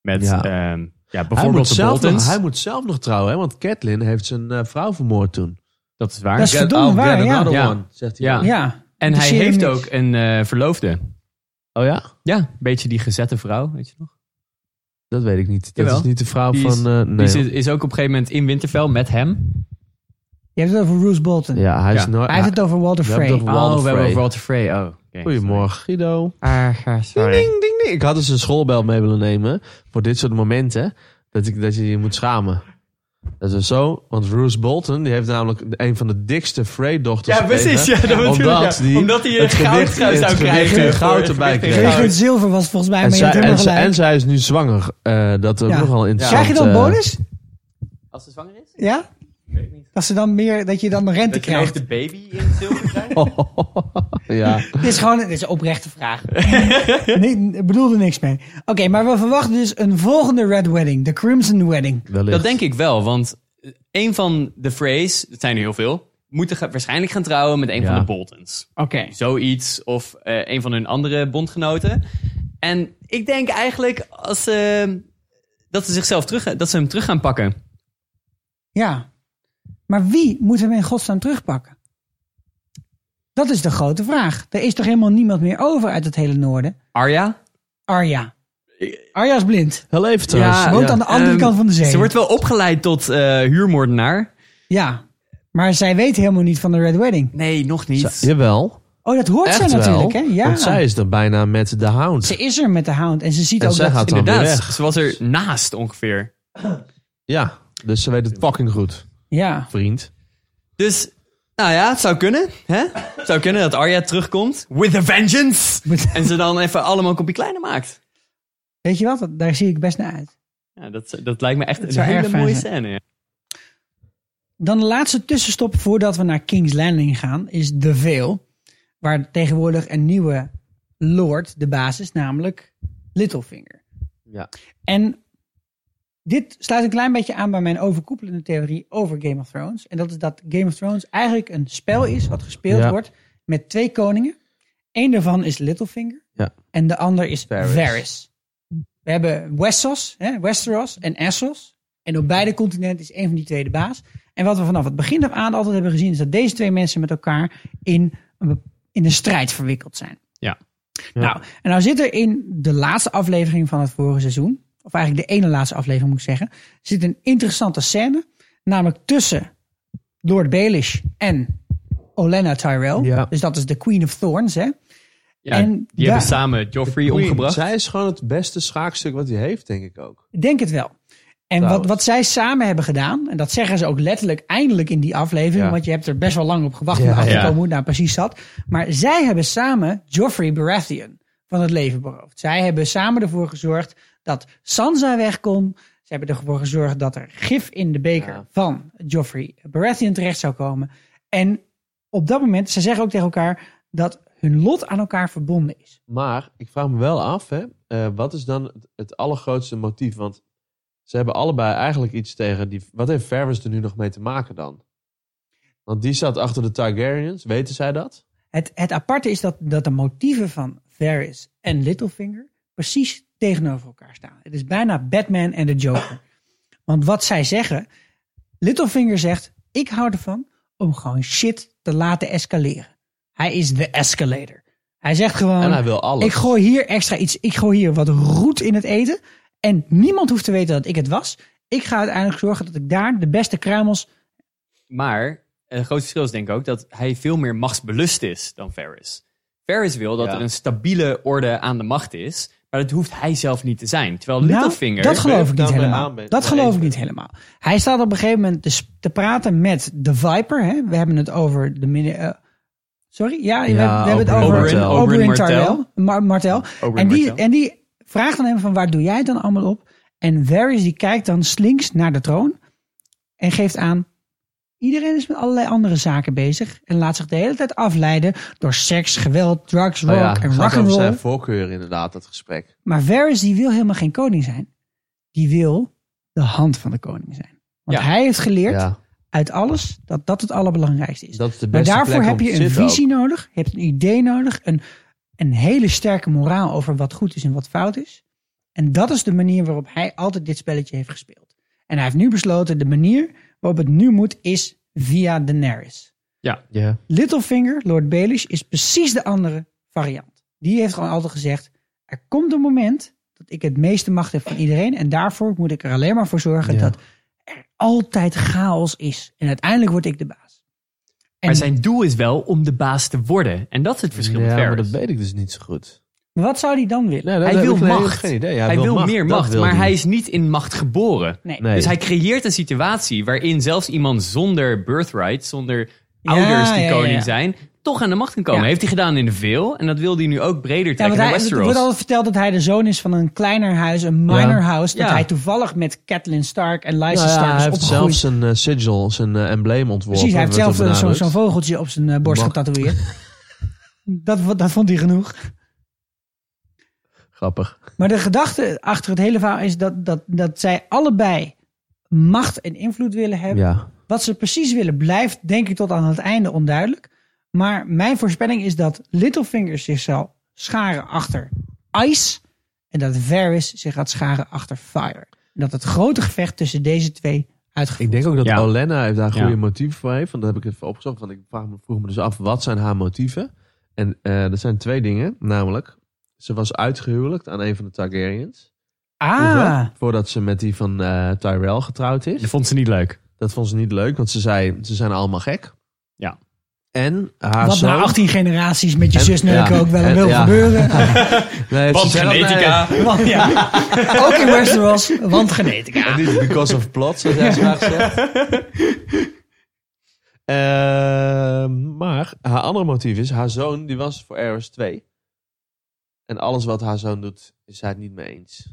Met ehm, Ja. ja. ja, Hij moet, bijvoorbeeld de zelf nog, Boltons. hij moet zelf nog trouwen, hè? want Catelyn heeft zijn eh, vrouw vermoord toen. Dat is waar. Dat is Get verdomme out, waar, get ja. another Ja. one, zegt hij. Ja. dan. Ja. en de hij serie heeft niet. ook een eh, verloofde. Oh ja? Ja, een beetje die gezette vrouw, weet je nog? Dat weet ik niet. Dat Jawel. is niet de vrouw Die van... is- eh, nee. Die zit- is ook op een gegeven moment in Winterfell met hem. Je hebt het over Roose Bolton. ja, hij is Ja. nooit... Hij heeft het over Walter We hebben Frey. het over- Walder oh, we hebben Frey. over Walter Frey. Oh, oké, Goedemorgen, Guido. sorry. Ah, sorry. Ding, ding, ding. Ik had dus een schoolbel mee willen nemen voor dit soort momenten. Dat, ik, dat je je moet schamen. Dat is dus zo, want Roose Bolton die heeft namelijk een van de dikste Frey-dochters. Ja, precies. Ja, gekregen, dat bedoel ik, omdat, ja. die Omdat hij, eh, het goud gewicht- zou het krijgen gewicht en voor- goud voor erbij gewicht en kreeg. goud. Regent Zilver was volgens mij En, met zij, helemaal en, zij- en gelijk. zij is nu zwanger. Eh, dat ook Ja. nogal interessant. Krijg je dan eh, bonus? Als ze zwanger is? Ja? Weet ik niet. Dat, ze dan meer, dat je dan rente Dat je nou krijgt. de baby in zilver krijgt? ja. Dit is gewoon dit is een oprechte vraag. nee, ik bedoel er niks mee. Oké, maar we verwachten dus een volgende Red Wedding. De Crimson Wedding. Wellicht. Dat denk ik wel, want een van de Freys, het zijn er heel veel, moeten ga- waarschijnlijk gaan trouwen met een Ja. van de Boltons. Oké. Zoiets, of eh, een van hun andere bondgenoten. En ik denk eigenlijk als, ze- dat, ze zichzelf terug, dat ze hem terug gaan pakken. Ja. Maar wie moeten we in godsnaam terugpakken? Dat is de grote vraag. Er is toch helemaal niemand meer over uit het hele noorden? Arya? Arja. Arja is blind. Heel even trouwens. Ze woont aan de andere ehm, kant van de zee. Ze wordt wel opgeleid tot eh, huurmoordenaar. Ja. Maar zij weet helemaal niet van de Red Wedding. Nee, nog niet. Zij- Jawel. Oh, dat hoort Echt zij natuurlijk, wel. hè? Ja. Want zij is dan bijna met de hound. Ze is er met de hound en ze ziet En ook zij dat... gaat dan weer Inderdaad, weg. ze was er naast ongeveer. Ja, dus ze weet het fucking goed, Ja. vriend. Dus, nou ja, het zou kunnen. Hè? Het zou kunnen dat Arya terugkomt. With a vengeance! En ze dan even allemaal een kopje kleiner maakt. Weet je wat? Dat- Daar zie ik best naar uit. Ja, dat, dat lijkt me echt een zou erg hele fijn mooie zijn. scène. ja. Dan de laatste tussenstop voordat we naar King's Landing gaan is de Veil. Waar tegenwoordig een nieuwe lord de baas is, namelijk Littlefinger. Ja. En dit sluit een klein beetje aan bij mijn overkoepelende theorie over Game of Thrones. En dat is dat Game of Thrones eigenlijk een spel is wat gespeeld Ja. wordt met twee koningen. Eén daarvan is Littlefinger Ja. en de ander is Varys. Varys. We hebben Wessos, hè, Westeros en Essos. En op beide continenten is één van die twee de baas. En wat we vanaf het begin af aan altijd hebben gezien... is dat deze twee mensen met elkaar in een, be- in een strijd verwikkeld zijn. Ja. Nou, en nou zit er in de laatste aflevering van het vorige seizoen... of eigenlijk de ene laatste aflevering moet ik zeggen... zit een interessante scène. Namelijk tussen Lord Baelish en Olenna Tyrell. Ja. Dus dat is de Queen of Thorns, hè? Ja, En die daar- hebben samen Joffrey Queen, omgebracht. Zij is gewoon het beste schaakstuk wat hij heeft, denk ik ook. Ik Denk het wel. En wat, Trouwens. wat zij samen hebben gedaan, en dat zeggen ze ook letterlijk eindelijk in die aflevering, Ja. want je hebt er best wel lang op gewacht om Ja, achter te ja. komen hoe het nou precies zat. Maar zij hebben samen Joffrey Baratheon van het leven beroofd. Zij hebben samen ervoor gezorgd dat Sansa weg kon. Ze hebben ervoor gezorgd dat er gif in de beker Ja. van Joffrey Baratheon terecht zou komen. En op dat moment, ze zeggen ook tegen elkaar dat hun lot aan elkaar verbonden is. Maar ik vraag me wel af, hè, eh, wat is dan het, het allergrootste motief? Want ze hebben allebei eigenlijk iets tegen die. Wat heeft Ferris er nu nog mee te maken dan? Want die staat achter de Targaryens, weten zij dat? Het, het aparte is dat, dat de motieven van Varys en Littlefinger precies tegenover elkaar staan. Het is bijna Batman en de Joker. Want wat zij zeggen, Littlefinger zegt: Ik hou ervan om gewoon shit te laten escaleren. Hij is de escalator. Hij zegt gewoon: en hij wil alles. Ik gooi hier extra iets, ik gooi hier wat roet in het eten. En niemand hoeft te weten dat ik het was. Ik ga uiteindelijk zorgen dat ik daar de beste kruimels. Maar eh, het grootste verschil is denk ik ook dat hij veel meer machtsbelust is dan Ferris. Ferris wil dat Ja. er een stabiele orde aan de macht is, maar dat hoeft hij zelf niet te zijn. Terwijl Nou, Littlefinger... dat geloof ik daar niet mee helemaal. aan ben- Dat mee geloof eens ik niet helemaal. Hij staat op een gegeven moment te, sp- te praten met de Viper. Hè? We hebben het over de mini- eh, sorry? Ja, we, Ja, hebben- we hebben het Oberyn over Martell. Oberyn Oberyn Martell. Martell. Mar- Martell. Oberyn en, die, Martell. en die vraagt aan hem van waar doe jij het dan allemaal op? En Varys die kijkt dan slinks naar de troon en geeft aan... Iedereen is met allerlei andere zaken bezig en laat zich de hele tijd afleiden door seks, geweld, drugs, rock Nou ja, en het gaat over rock'n'roll. zijn voorkeur inderdaad, dat gesprek. Maar Varys die wil helemaal geen koning zijn. Die wil de hand van de koning zijn. Want Ja. hij heeft geleerd Ja, uit alles dat dat het allerbelangrijkste is. dat is de maar beste daarvoor plek heb om je te een zitten ook. visie nodig. Je hebt een idee nodig. Een, een hele sterke moraal over wat goed is en wat fout is. En dat is de manier waarop hij altijd dit spelletje heeft gespeeld. En hij heeft nu besloten de manier waarop het nu moet is via Daenerys. Ja. Littlefinger, Lord Baelish, is precies de andere variant. Die heeft gewoon altijd gezegd: er komt een moment dat ik het meeste macht heb van iedereen. En daarvoor moet ik er alleen maar voor zorgen dat er altijd chaos is. En uiteindelijk word ik de baas. En Maar zijn doel is wel om de baas te worden. En dat is het verschil met ja, maar Ferris. dat weet ik dus niet zo goed. wat zou hij dan willen? Nee, dat Hij heb wil ik geen- macht. Geen idee. Hij, wil, meer dat macht, wil maar hij niet. is niet in macht geboren. Nee. Nee. Dus hij creëert een situatie waarin zelfs iemand zonder birthright, zonder ouders die ja, ja, koning ja. zijn, toch aan de macht kan komen. Ja. Heeft hij gedaan in de veel en dat wil hij nu ook breder Ja, trekken want naar hij, het Westeros. wordt altijd verteld dat hij de zoon is van een kleiner huis, een minor house. Dat Ja. hij toevallig met Catelyn Stark en Lysa Nou ja, Stark is hij dus heeft opgegroeid. zelf zijn eh, sigil, zijn eh, embleem ontworpen. Precies, hij heeft zelf werd al eh, zo'n benadrukt. zo'n vogeltje op zijn eh, borst Mag. getatoeëerd. dat, vo- dat vond hij genoeg. Grappig. Maar de gedachte achter het hele verhaal is dat, dat, dat zij allebei macht en invloed willen hebben. Ja. Wat ze precies willen blijft, denk ik, tot aan het einde onduidelijk. Maar mijn voorspelling is dat Littlefinger zich zal scharen achter Ice. En dat Varys zich gaat scharen achter Fire. En dat het grote gevecht tussen deze twee Ik uitgevoerd denk ook dat Ja. Olenna heeft daar Ja. goede motieven voor heeft. Want dat heb ik even opgezocht. Want ik vraag me, vroeg me dus af, wat zijn haar motieven? En eh er zijn twee dingen. Namelijk, ze was uitgehuwelijkd aan een van de Targaryens. Ah, Vroeger, Voordat ze met die van eh, Tyrell getrouwd is. Dat vond ze niet leuk. Dat vond ze niet leuk, want ze zei, ze zijn allemaal gek. Ja. En haar wat nou zoon... na 18 generaties met je Ah, En- zus natuurlijk ja. ook wel En- wil ja. gebeuren. Nee, ze Want zei, genetica. Want, ja. ook in Westeros, want genetica. nee, niet because of plot, zoals jij graag zegt. Eh, maar haar andere motief is, haar zoon die was voor Ares 2. En alles wat haar zoon doet, is zij het niet mee eens.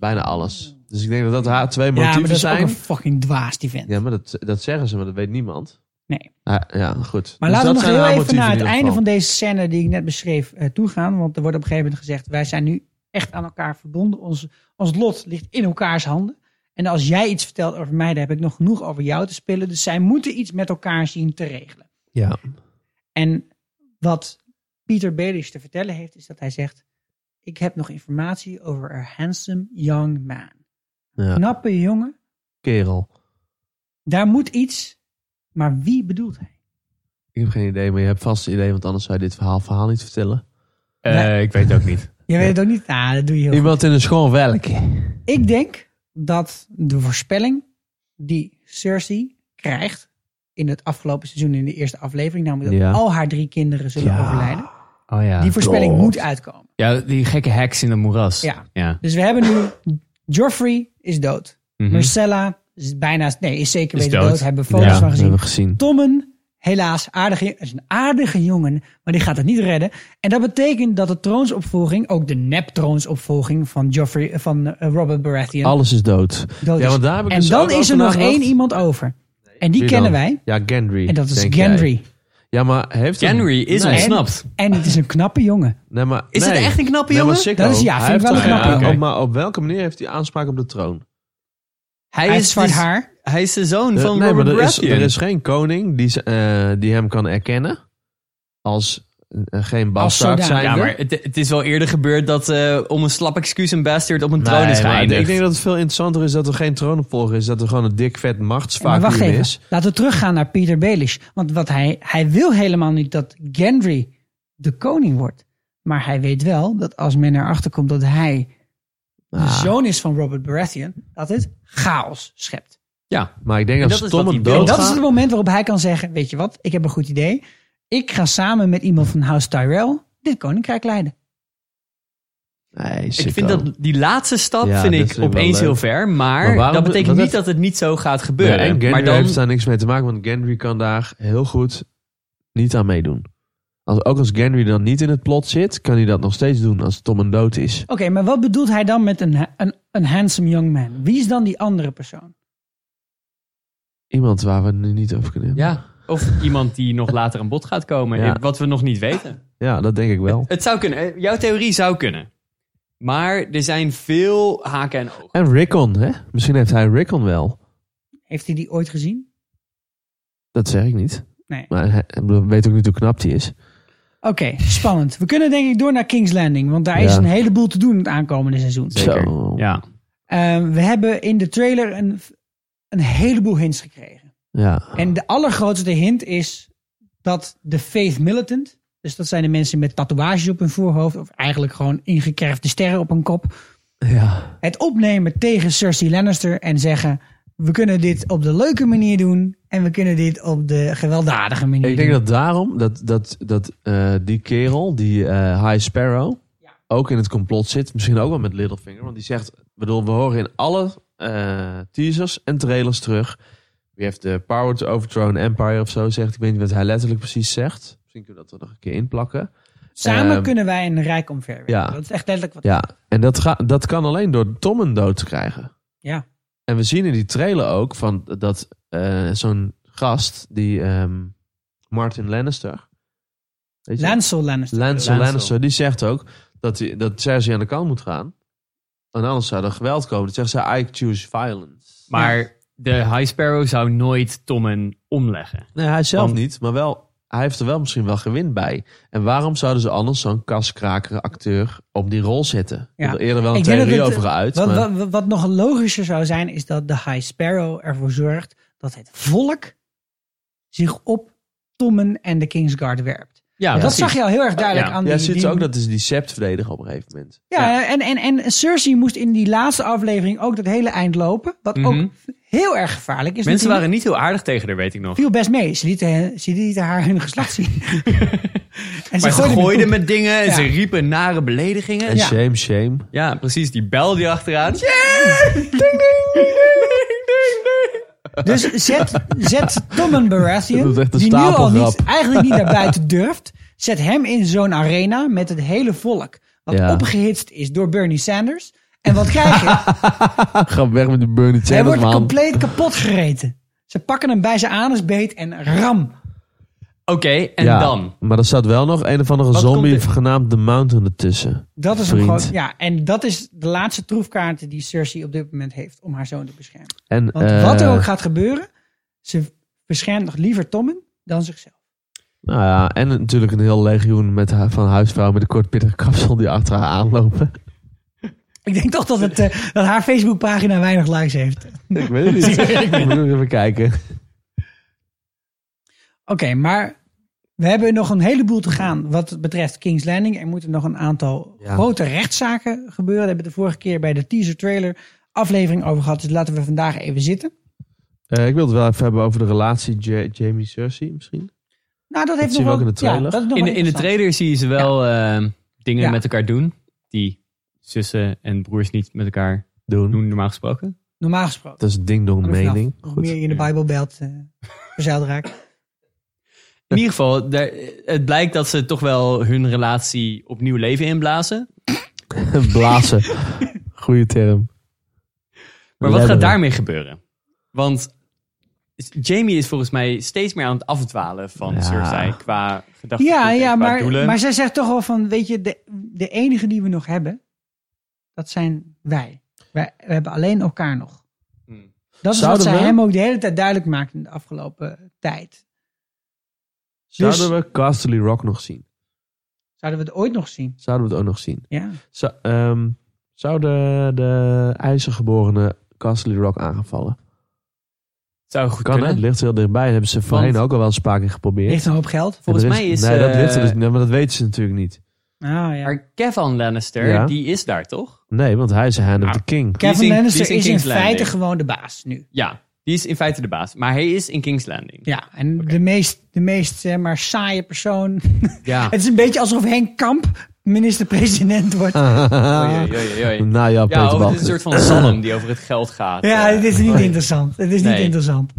Bijna alles. Dus ik denk dat dat haar twee Ja, motieven maar dat is ook zijn. een fucking dwaas, die vent. Ja, maar dat, dat zeggen ze, maar dat weet niemand. Nee. Ah, ja, goed. Maar laten Dus we dat nog zijn heel haar even motieven naar het in ieder einde geval. van deze scène die ik net beschreef eh, toegaan. Want er wordt op een gegeven moment gezegd, wij zijn nu echt aan elkaar verbonden. Ons, ons lot ligt in elkaars handen. En als jij iets vertelt over mij, dan heb ik nog genoeg over jou te spillen. Dus zij moeten iets met elkaar zien te regelen. Ja. En wat Peter Baelish te vertellen heeft, is dat hij zegt... Ik heb nog informatie over a handsome young man. Ja. Knappe jongen, Kerel. daar moet iets. Maar wie bedoelt hij? Ik heb geen idee, maar je hebt vast een idee, want anders zou je dit verhaal, verhaal niet vertellen. Eh, Nee. Ik weet het ook niet. Je weet het ook niet. Ah, dat doe je heel Iemand in een schoon welkje. Ik denk dat de voorspelling die Cersei krijgt in het afgelopen seizoen in de eerste aflevering, namelijk dat Ja. al haar drie kinderen zullen Ja. overlijden, Oh ja. die voorspelling klopt. moet uitkomen. ja, die gekke heks in de moeras. Ja. ja. Dus we hebben nu Joffrey is dood, Mhm. Marcella is bijna, nee, is zeker Is weten dood. dood. Hebben we foto's Ja, van gezien. gezien. Tommen, helaas, aardige, is een aardige jongen, maar die gaat het niet redden. En dat betekent dat de troonsopvolging, ook de nep-troonsopvolging van Joffrey, van eh, Robert Baratheon, Alles is dood. dood Ja, is. want daar heb ik En dus dan ook is over er nog nagedacht. één iemand over. En die Wie kennen dan? wij. Ja, Gendry. En dat is denk Gendry. jij. Ja, maar heeft hem- January is nee. ontsnapt. En het is een knappe jongen. Nee, maar, Is het nee. echt een knappe Nee, maar jongen? sicko. Dat is- ja, Hij vind ik heeft wel toch- een knappe ja, jongen. op- Maar op welke manier heeft hij aanspraak op de troon? Hij heeft zwart dus- haar. Hij is de zoon van Eh, nee, Robert maar er is, Baratheon. er is geen koning die, ze- eh, die hem kan erkennen als eh, geen bastard zodanig. zijn. Ja, maar het, het is wel eerder gebeurd dat eh, om een slap excuus een bastard op een Nee, troon is maar geëindigd. Ik denk dat het veel interessanter is dat er geen troonopvolger is. Dat er gewoon een dik vet Maar wacht machtsvacuum even. is. Laten we teruggaan naar Peter Baelish. Want wat hij, hij wil helemaal niet dat Gendry de koning wordt. Maar hij weet wel dat als men erachter komt dat hij de Ah. zoon is van Robert Baratheon, dat het chaos schept. Ja, Maar ik denk En dat, dat is Tom wat hem hij wil. En dood dat is het moment waarop hij kan zeggen, weet je wat, ik heb een goed idee. Ik ga samen met iemand van House Tyrell dit koninkrijk leiden. ik vind dat die laatste stap Ja, vind dat ik vind ik wel opeens leuk. heel ver. Maar, Maar waarom- dat betekent wat niet heeft- dat het niet zo gaat Ja, gebeuren. en Gendry maar dan, heeft daar niks mee te maken, want Gendry kan daar heel goed niet aan meedoen. Als, ook als Gendry dan niet in het plot zit, kan hij dat nog steeds doen als Tom een dood is. Oké, maar wat bedoelt hij dan met een, een, een handsome young man? Wie is dan die andere persoon? Iemand waar we nu niet over kunnen hebben. ja, of iemand die nog later aan bod gaat komen, Ja. eh, wat we nog niet weten. Ja, dat denk ik wel. Het zou kunnen. Eh, Jouw theorie zou kunnen. Maar er zijn veel haken en ogen. En Rickon, hè? Misschien heeft hij Rickon wel. Heeft hij die ooit gezien? Dat zeg ik niet. Nee. Maar hij, ik bedoel, we weten ook niet hoe knap die is. Oké, spannend. We kunnen denk ik door naar King's Landing, want daar is Ja. een heleboel te doen het aankomende seizoen. Zeker. Zo. Ja. Ehm, we hebben in de trailer een, een heleboel hints gekregen. Ja. En de allergrootste hint is dat de Faith Militant, dus dat zijn de mensen met tatoeages op hun voorhoofd, of eigenlijk gewoon ingekerfde sterren op hun kop, Ja. Het opnemen tegen Cersei Lannister en zeggen... We kunnen dit op de leuke manier doen. En we kunnen dit op de gewelddadige manier Ik denk doen. dat daarom dat, dat, dat eh, die kerel, die eh, High Sparrow, ook in het complot zit. Misschien ook wel met Littlefinger. Want die zegt, ik bedoel, we horen in alle eh, teasers en trailers terug. Wie heeft de power to overthrow an empire of zo zegt. Ik weet niet wat hij letterlijk precies zegt. Misschien kunnen we dat er nog een keer inplakken. Samen ehm, kunnen wij een rijk omverwerken. ja. Dat is echt letterlijk wat... Ja, en dat, ga, dat kan alleen door Tommen dood te krijgen. Ja. En we zien in die trailer ook van dat eh, zo'n gast, die ehm, Martin Lannister. Weet je? Lancel Lannister. Lancel Lancel. Lannister, die zegt ook dat, die, dat Cersei aan de kant moet gaan. En anders zou er geweld komen. Dan zegt ze, I choose violence. Maar de High Sparrow zou nooit Tommen omleggen. Nee, hij zelf Want- niet, maar wel, hij heeft er wel misschien wel gewin bij. En waarom zouden ze anders zo'n kaskraker acteur op die rol zetten? Ik Ja. heb er eerder wel een Ik denk dat theorie het- over uit. Wat, maar... wat, wat- wat nog logischer zou zijn, is dat de High Sparrow ervoor zorgt dat het volk zich op Tommen en de Kingsguard werpt. Ja, dat zag je al heel erg duidelijk Ja. aan Ja, die... zit die- ze ook dat is die sept verdedigen op een gegeven moment. ja, En, en, en Cersei moest in die laatste aflevering ook dat hele eind lopen. Wat Mhm. ook heel erg gevaarlijk is. Mensen natuurlijk. waren niet heel aardig tegen haar, weet ik nog. viel best mee. Ze lieten, ze lieten haar hun geslacht zien. en Maar ze gooiden met dingen en Ja. ze riepen nare beledigingen. En Ja. shame, shame. Ja, precies. Die bel die achteraan. Dus zet, zet Tommen Baratheon, Dat is echt een die nu al stapelgrap. niet, eigenlijk niet naar buiten durft, zet hem in zo'n arena met het hele volk. Wat Ja. opgehitst is door Bernie Sanders. En wat krijg je? Ga weg met die Bernie Hij Sanders, wordt man. compleet kapot gereten. Ze pakken hem bij zijn anusbeet en ram. Oké, en Ja, dan? Maar er staat wel nog een of andere zombie komt er- genaamd The Mountain ertussen. Dat is hem Vriend. gewoon, ja, en dat is de laatste troefkaart die Cersei op dit moment heeft om haar zoon te beschermen. En, Want eh, wat er ook gaat gebeuren, ze beschermt nog liever Tommen dan zichzelf. Nou ja, en natuurlijk een heel legioen met haar, van huisvrouwen met een kort pittig kapsel die achter haar aanlopen. Ik denk toch dat, het, eh, dat haar Facebookpagina weinig likes heeft. Ik weet het niet. Ik moet nog even kijken. Oké, maar we hebben nog een heleboel te gaan wat betreft King's Landing. Er moeten nog een aantal Ja. grote rechtszaken gebeuren. Daar hebben we de vorige keer bij de teaser trailer aflevering over gehad. Dus laten we vandaag even zitten. Eh, ik wil het wel even hebben over de relatie Ja- Jamie-Cersei misschien. Nou, dat heeft zien we nog ook wel- in de trailer. Ja, dat is nog In, wel de- in de interessant. trailer zie je ze wel eh, dingen Ja. met elkaar doen. Die zussen en broers niet met elkaar Doen. doen, normaal gesproken. Normaal gesproken. Dat is een ding-dong Vanaf- nou mening. Hoe Goed. meer je in de Bible belt, eh verzeild raakt. In ieder geval, daar, het blijkt dat ze toch wel hun relatie opnieuw leven inblazen. Blazen. Goeie term. Maar wat gaat Ledderen. daarmee gebeuren? Want Jamie is volgens mij steeds meer aan het afdwalen van Ja. Cersei qua gedachten Ja, ja qua maar, doelen. maar zij zegt toch wel van, weet je, de, de enige die we nog hebben, dat zijn wij. wij we hebben alleen elkaar nog. Hmm. Dat is Zouden wat zij we- hem ook de hele tijd duidelijk maakt in de afgelopen tijd. Dus- Zouden we Casterly Rock nog zien? Zouden we het ooit nog zien? Zouden we het ook nog zien? Ja. Zou, ehm, zou de, de ijzergeborene Castle Rock aangevallen? Zou goed Kan hè? kunnen. Het ligt heel dichtbij. Dat hebben ze voorheen ook al wel eens een paar keer geprobeerd. Heeft een hoop geld. En er Volgens mij is, Nee, dat eh, ligt er dus niet. Maar dat weten ze natuurlijk niet. Ah, ja. Maar Kevin Lannister, Ja. die is daar toch? Nee, want hij is de Hand of Ah. the King. die is in- Kevin die Lannister is is in in, King's feite Landing. gewoon de baas nu. Ja, die is in feite de baas. Maar hij is in King's Landing. Ja, en de meest, de meest zeg maar, saaie persoon. Ja. het is een beetje alsof Henk Kamp minister-president Ah. wordt. Oei, oei, oei, oei. Nou ja, Peter Ja, oh, over- het Wacht. is een soort van zalm die over het geld gaat. ja, Eh, het is niet interessant. Het is niet Nee. interessant.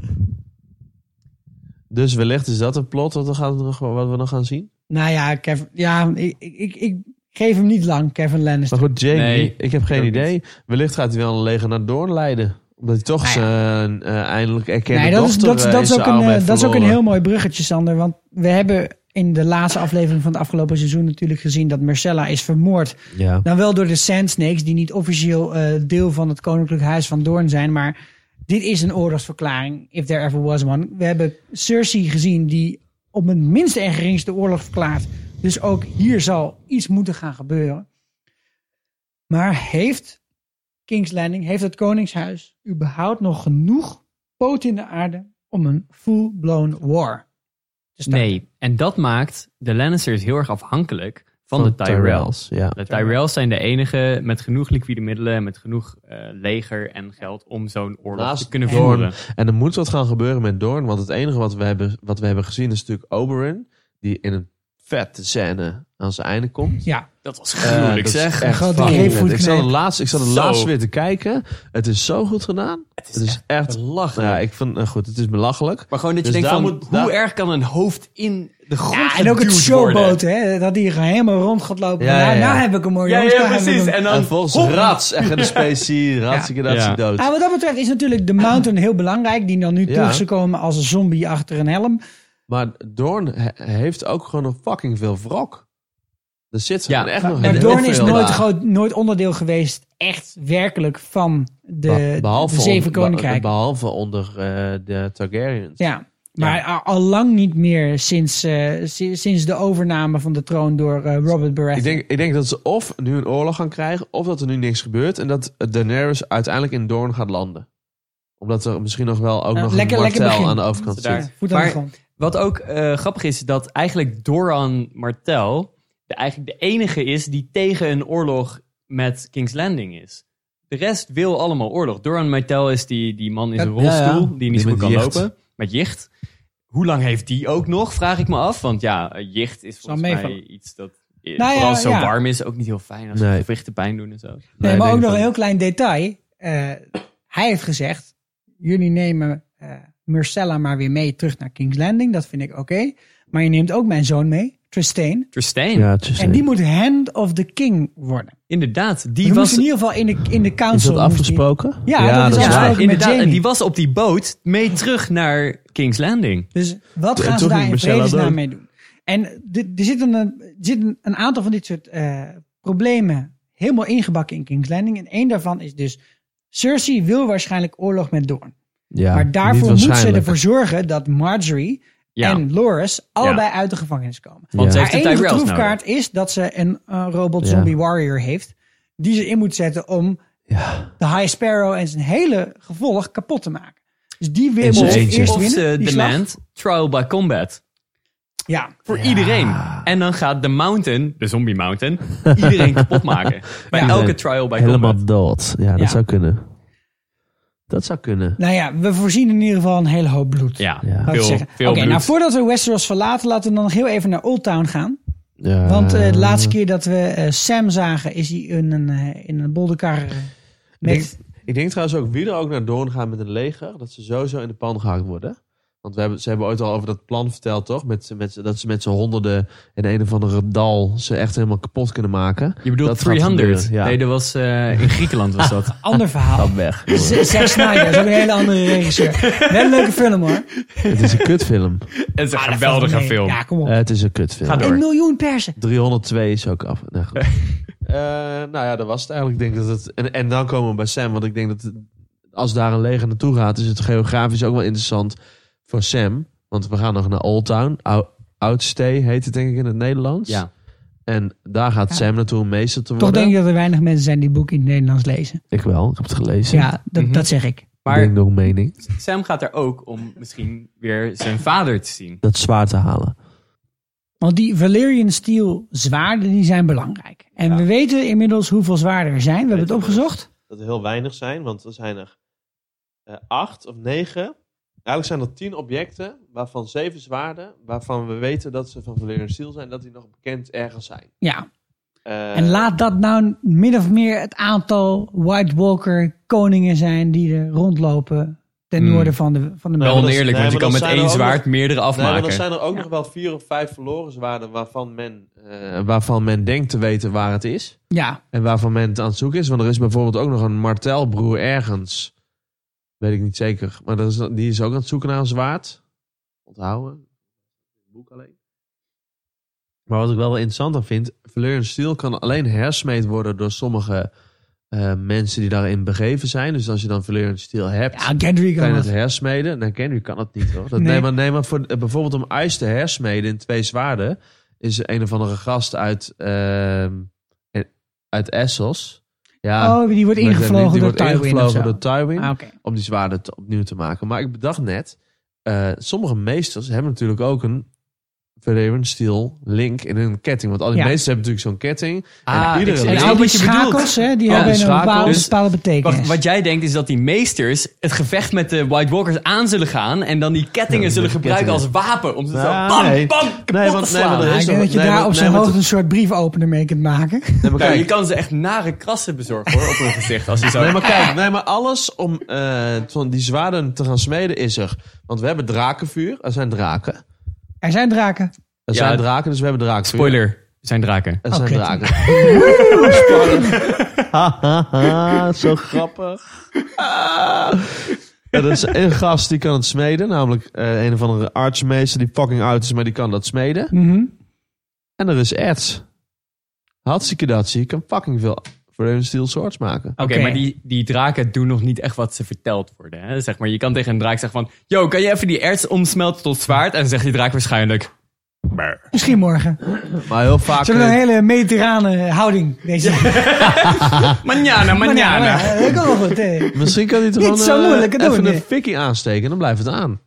Dus wellicht is dat een plot wat we, gaan, wat we nog gaan zien. Nou ja, Kevin, ja ik, ik, ik, ik geef hem niet lang, Kevin Lannister. Maar goed, Jamie, Nee, ik heb geen ook niet. idee. Wellicht gaat hij wel een leger naar Doorn leiden. Omdat hij toch Nou ja. zijn eh, eindelijk erkende Nee, dat is, dochter dat, is- eh, dat, in is zijn ook een, armen eh, heeft dat is ook een verloren. heel mooi bruggetje, Sander. Want we hebben in de laatste aflevering van het afgelopen seizoen natuurlijk gezien dat Marcella is vermoord. Ja. Dan Nou, wel door de Sand Snakes, die niet officieel eh, deel van het Koninklijk Huis van Doorn zijn. Maar dit is een oorlogsverklaring, if there ever was one. We hebben Cersei gezien die op het minste en geringste oorlog verklaart. Dus ook hier zal iets moeten gaan gebeuren. Maar heeft King's Landing, heeft het Koningshuis überhaupt nog genoeg poot in de aarde om een full-blown war te starten? Nee, en dat maakt de Lannisters heel erg afhankelijk van de Tyrells. Ja. De Tyrells zijn de enige met genoeg liquide middelen, en met genoeg eh, leger en geld om zo'n oorlog Naast te kunnen Doorn. voeren. En er moet wat gaan gebeuren met Doorn. Want het enige wat we hebben, wat we hebben gezien is natuurlijk Oberyn. Die in een vette scène aan zijn einde komt. Ja, Dat was Eh, gruwelijk dat is zeg. echt God, die fucking heeft vet. voet ik zat het knijpen. laatst, ik zat het Zo. laatst weer te kijken. Het is zo goed gedaan. Het is, echt... belachelijk. Ja, ik vind... nou goed, het is belachelijk. maar gewoon dat je Dus denkt daar van, moet- hoe daar- erg kan een hoofd in de grond ja en ook het geduwd showboat, worden? hè? Dat die gewoon helemaal rond gaat lopen. Ja, nou, ja, ja. nou heb ik hem mooi. Ja, jongens, ja, daar hebben we precies. hem. En dan En volgens hop, rats, echt in de specie, ratsie, Ja. dood. Ah, wat dat betreft is natuurlijk de Mountain heel belangrijk. Die dan nu Ja. terug zou komen als een zombie achter een helm. Maar Doorn he- heeft ook gewoon nog fucking veel wrok. Er zit Ja, gewoon echt nog Maar heel Doorn is veel nooit, daar. groot, nooit onderdeel geweest, echt werkelijk, van de, Be- de Zeven on- be- Koninkrijken. behalve onder eh, de Targaryens. ja, maar al al lang niet meer sinds, eh, si- sinds de overname van de troon door eh, Robert Baratheon. Ik, denk, ik denk dat ze of nu een oorlog gaan krijgen, of dat er nu niks gebeurt. En dat Daenerys uiteindelijk in Doorn gaat landen. Omdat er misschien nog wel ook Ja, nog Eh, lekker- een lekker martel begin. aan de overkant Daar. zit. Ja, voet aan de Maar- grond. Wat ook eh, grappig is, dat eigenlijk Doran Martel de, eigenlijk de enige is die tegen een oorlog met King's Landing is. De rest wil allemaal oorlog. Doran Martel is die, die man in zijn Ja, ja, rolstoel, ja. die niet zo Die goed kan met jicht. lopen, met jicht. Hoe lang heeft die ook nog, vraag ik me af. Want ja, eh, jicht is volgens mij meevallen. iets dat eh, Nou ja, vooral als het zo ja. warm is, ook niet heel fijn als Nee. nee. gewichten pijn doen en zo. Nee, Nee, maar ik ook denk nog van- een heel klein detail. Eh, hij heeft gezegd, jullie nemen eh Myrcella maar weer mee terug naar King's Landing. Dat vind ik oké. Maar je neemt ook mijn zoon mee, Tristan. Tristan, Ja, het is En die moet Hand of the King worden. inderdaad, Die die moest was in ieder geval in de, in de council. is moest dat die- afgesproken? Ja, dat is Ja, afgesproken. ook met inderdaad. Jamie. En die was op die boot mee terug naar King's Landing. Dus wat En gaan ze toch daar niet in Marcella dood. vredesnaam mee doen? En d- er zitten een, er zitten een aantal van dit soort eh, problemen helemaal ingebakken in King's Landing. En één daarvan is dus, Cersei wil waarschijnlijk oorlog met Doorn. Ja, maar daarvoor moet ze ervoor ervoor zorgen dat Marjorie Ja. en Loras allebei uit de gevangenis komen. Want ze Ja. Haar heeft de enige Tyrells nodig. troefkaart is dat ze een eh, robot Ja. zombie warrior heeft. Die ze in moet zetten om Ja. de High Sparrow en zijn hele gevolg kapot te maken. Dus die In weer zijn moet eentje. eerst Of winnen. ze die slag. demand trial by combat. Ja. Voor iedereen. En dan gaat de mountain, de zombie mountain, iedereen kapot maken. Bij Ja. elke trial by combat. dood. Ja, dat Ja. zou kunnen. Dat zou kunnen. Nou ja, we voorzien in ieder geval een hele hoop bloed. Ja, Ja. Laat ik veel, zeggen. Oké, veel bloed. nou voordat we Westeros verlaten, laten we dan nog heel even naar Old Town gaan. Ja. Want eh, de laatste keer dat we eh, Sam zagen, is hij in een, eh, in een bolderkar eh, Ik met denk, ik denk trouwens ook wie er ook naar Doorn gaat met een leger, dat ze sowieso in de pan gehakt worden. Want we hebben, ze hebben ooit al over dat plan verteld, toch? Met, z'n- met, z'n- dat ze met z'n honderden in een of andere dal ze echt helemaal kapot kunnen maken. je bedoelt Dat gaat 300. gebeuren, ja. Nee, dat was eh, in Griekenland was dat. ander verhaal. weg. Z- Zack Snyder is ook een hele andere regisseur. Wel een leuke film hoor. het is een kutfilm. Het is een Ah, geweldige nee. film. Ja, kom op. Eh, het is een kutfilm. Ga door. een miljoen persen. 302 is ook af. Nou, goed. Eh, nou ja, dat was het eigenlijk. Ik denk dat het, en, en dan komen we bij Sam. Want ik denk dat het- als daar een leger naartoe gaat, is het geografisch ook wel interessant voor Sam. Want we gaan nog naar Old Town. Ou- Oudstee heet het denk ik in het Nederlands. Ja. En daar gaat Ja. Sam naartoe om meester te Toch worden. denk ik dat er weinig mensen zijn die boeken in het Nederlands lezen. ik wel. Ik heb het gelezen. Ja, dat, Mhm. dat zeg ik. Maar nog mening. Sam gaat er ook om misschien weer zijn vader te zien. Dat zwaar te halen. Want die Valerian Steel zwaarden, die zijn belangrijk. En Ja. we weten inmiddels hoeveel zwaarden er zijn. We hebben het Weet je wel. opgezocht. Dat er heel weinig zijn, want er zijn er eh, acht of negen. Eigenlijk zijn er tien objecten, waarvan zeven zwaarden, waarvan we weten dat ze van Valerian Steel zijn, dat die nog bekend ergens zijn. Ja. Eh, En laat dat nou min of meer het aantal White Walker koningen zijn die er rondlopen ten Hmm. noorden van de, van de Nou, Melk. Wel maar dat- oneerlijk, nee, want je maar dat kan met zijn er één ook zwaard meerdere Nee, maar dan afmaken. zijn er ook nog wel vier of vijf verloren zwaarden waarvan men, eh, waarvan men denkt te weten waar het is. Ja, En waarvan men het aan het zoeken is. Want er is bijvoorbeeld ook nog een martelbroer ergens. Weet ik niet zeker. Maar dat is, die is ook aan het zoeken naar een zwaard. Onthouden. Boek alleen. Maar wat ik wel wel interessant aan vind. Valerian Steel kan alleen hersmeed worden door sommige eh, mensen die daarin begeven zijn. Dus als je dan Valerian Steel hebt. ja Gendry Kan kan je dat. het hersmeden? Nee, Henry kan het niet hoor. Dat, nee. Nee. maar, nee, maar voor, eh, bijvoorbeeld om ijs te hersmeden in twee zwaarden... is een of andere gast uit, ehm, eh, uit Essos. Ja, Oh, die wordt met hem, ingevlogen die door wordt Tywin of zo. ingevlogen door Tywin Ah, oké. om die zwaarden te- opnieuw te maken. Maar ik bedacht net, eh, sommige meesters hebben natuurlijk ook een Verevenstil, Link in een ketting. Want al die Ja. mensen hebben natuurlijk zo'n ketting. Ah, en ik iedere zie- En weet al niet die wat je schakels, bedoelt. hè, die Ja, hebben een schakels. bepaalde, Dus- bepaalde betekenis. Wacht, wat jij denkt is dat die meesters het gevecht met de White Walkers aan zullen gaan. En dan die kettingen zullen de gebruiken als kettingen. wapen. Om ze zo Ah, bam, nee. bam, Nee, kapot want- te nee, slaan. want Ja, er ik is denk wel- dat je nee, daar maar- op nee, zijn maar hoogte het- een soort briefopener mee kunt maken. Nee, maar Nou, kijk, je kan ze echt nare krassen bezorgen hoor, op hun gezicht. Als je zo... Nee, maar kijk, nee, maar alles om eh, van die zwaarden te gaan smeden is er. Want we hebben drakenvuur. Er zijn draken. Er Er zijn draken. Ja, zijn het- draken, dus we hebben drakenvuur. Spoiler, zijn draken. Er Oh, zijn kut. draken. Spoiler. Zo grappig. Ah. Er is een gast die kan het smeden. Namelijk eh, een of andere artsmeester die fucking oud is, maar die kan dat smeden. Mhm. En er is Eds. Hartstikke dat zie ik. Kan fucking veel voor een steel swords maken. Oké, maar die, die draken doen nog niet echt wat ze verteld worden. Hè? Zeg maar, je kan tegen een draak zeggen van... Yo, kan je even die erts omsmelten tot zwaard? En dan zegt die draak waarschijnlijk... Misschien morgen. Maar heel vaak. Zullen we eh, een hele mediterrane houding deze Manjana, manjana. Ja, dat kan wel goed. hè. Misschien kan hij toch Niet gewoon, zo eh, moeilijk, het even doen, een nee. fikkie aansteken en dan blijft het aan.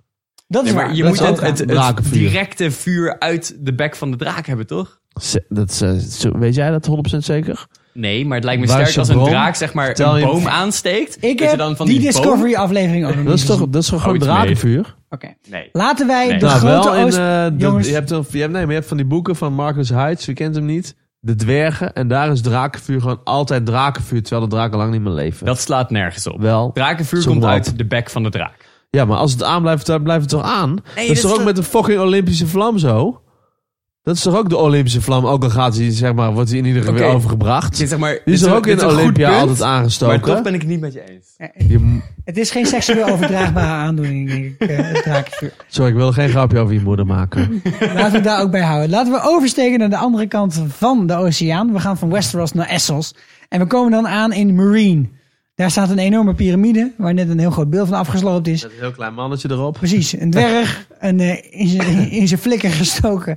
Dat is Nee, waar. maar je Dat moet is het, ook het, waar. het Drakenvuur. directe vuur uit de bek van de draak hebben, toch? Dat, is, eh, zo- weet jij dat 100% zeker? Nee, maar het lijkt me Waar is sterk je als een boom? draak zeg maar Vertel een je- boom aansteekt. Ik dat je heb dan van die, die, boom- Discovery aflevering ook nog Dat niet is toch, gezien. dat is toch gewoon iets drakenvuur? Oké. Nee. Laten wij Nee. de Nou, grote wel in, Oost... eh, de- jongens. je, hebt een, je, hebt, nee, maar je hebt van die boeken van Marcus Heights, wie kent hem niet? De dwergen. En daar is drakenvuur gewoon altijd drakenvuur, terwijl de draken lang niet meer leven. Dat slaat nergens op. wel. Drakenvuur Zo'n komt ramp. uit de bek van de draak. Ja, maar als het aan blijft, dan blijft het toch aan? dat dat is toch is ook de- met de fucking Olympische vlam zo? Dat is toch ook de Olympische vlam? Ook al gaat die, zeg maar, wordt die in ieder geval Oké. weer overgebracht. Dit, zeg maar, Die dit is er een- ook dit in een goed Olympia punt, altijd Maar toch aangestoken. ben ik het niet met je eens. Je- Het is geen seksueel overdraagbare aandoening, denk ik, eh, het draakvuur. Sorry, ik wil geen grapje over je moeder maken. Laten we daar ook bij houden. Laten we oversteken naar de andere kant van de oceaan. We gaan van Westeros naar Essos. En we komen dan aan in Marine. Daar staat een enorme piramide, waar net een heel groot beeld van afgesloopt is. Met een heel klein mannetje erop. Precies, een dwerg, een, eh, in zijn- in zijn flikker gestoken,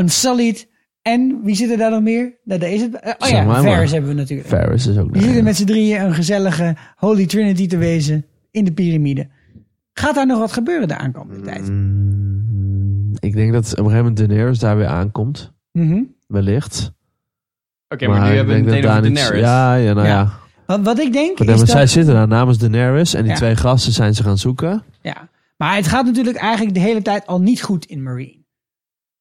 unsullied. En wie zit er daar nog meer? Nou, daar is het. eh, Oh Zeg ja, maar maar. Varys hebben we natuurlijk. Ferris is ook Die nog zitten een. met z'n drieën een gezellige Holy Trinity te wezen in de piramide. Gaat daar nog wat gebeuren de aankomende tijd? Mm, Ik denk dat op een gegeven moment Daenerys daar weer aankomt. Mhm. Wellicht. Oké, maar, nu ik hebben we het denk meteen dat over daar Daenerys. niet- Ja, ja, nou Ja. ja. Wat, wat ik denk Maar is dan- dat... zij zitten daar namens Daenerys en die Ja. twee gasten zijn ze gaan zoeken. Ja. Maar het gaat natuurlijk eigenlijk de hele tijd al niet goed in Marine.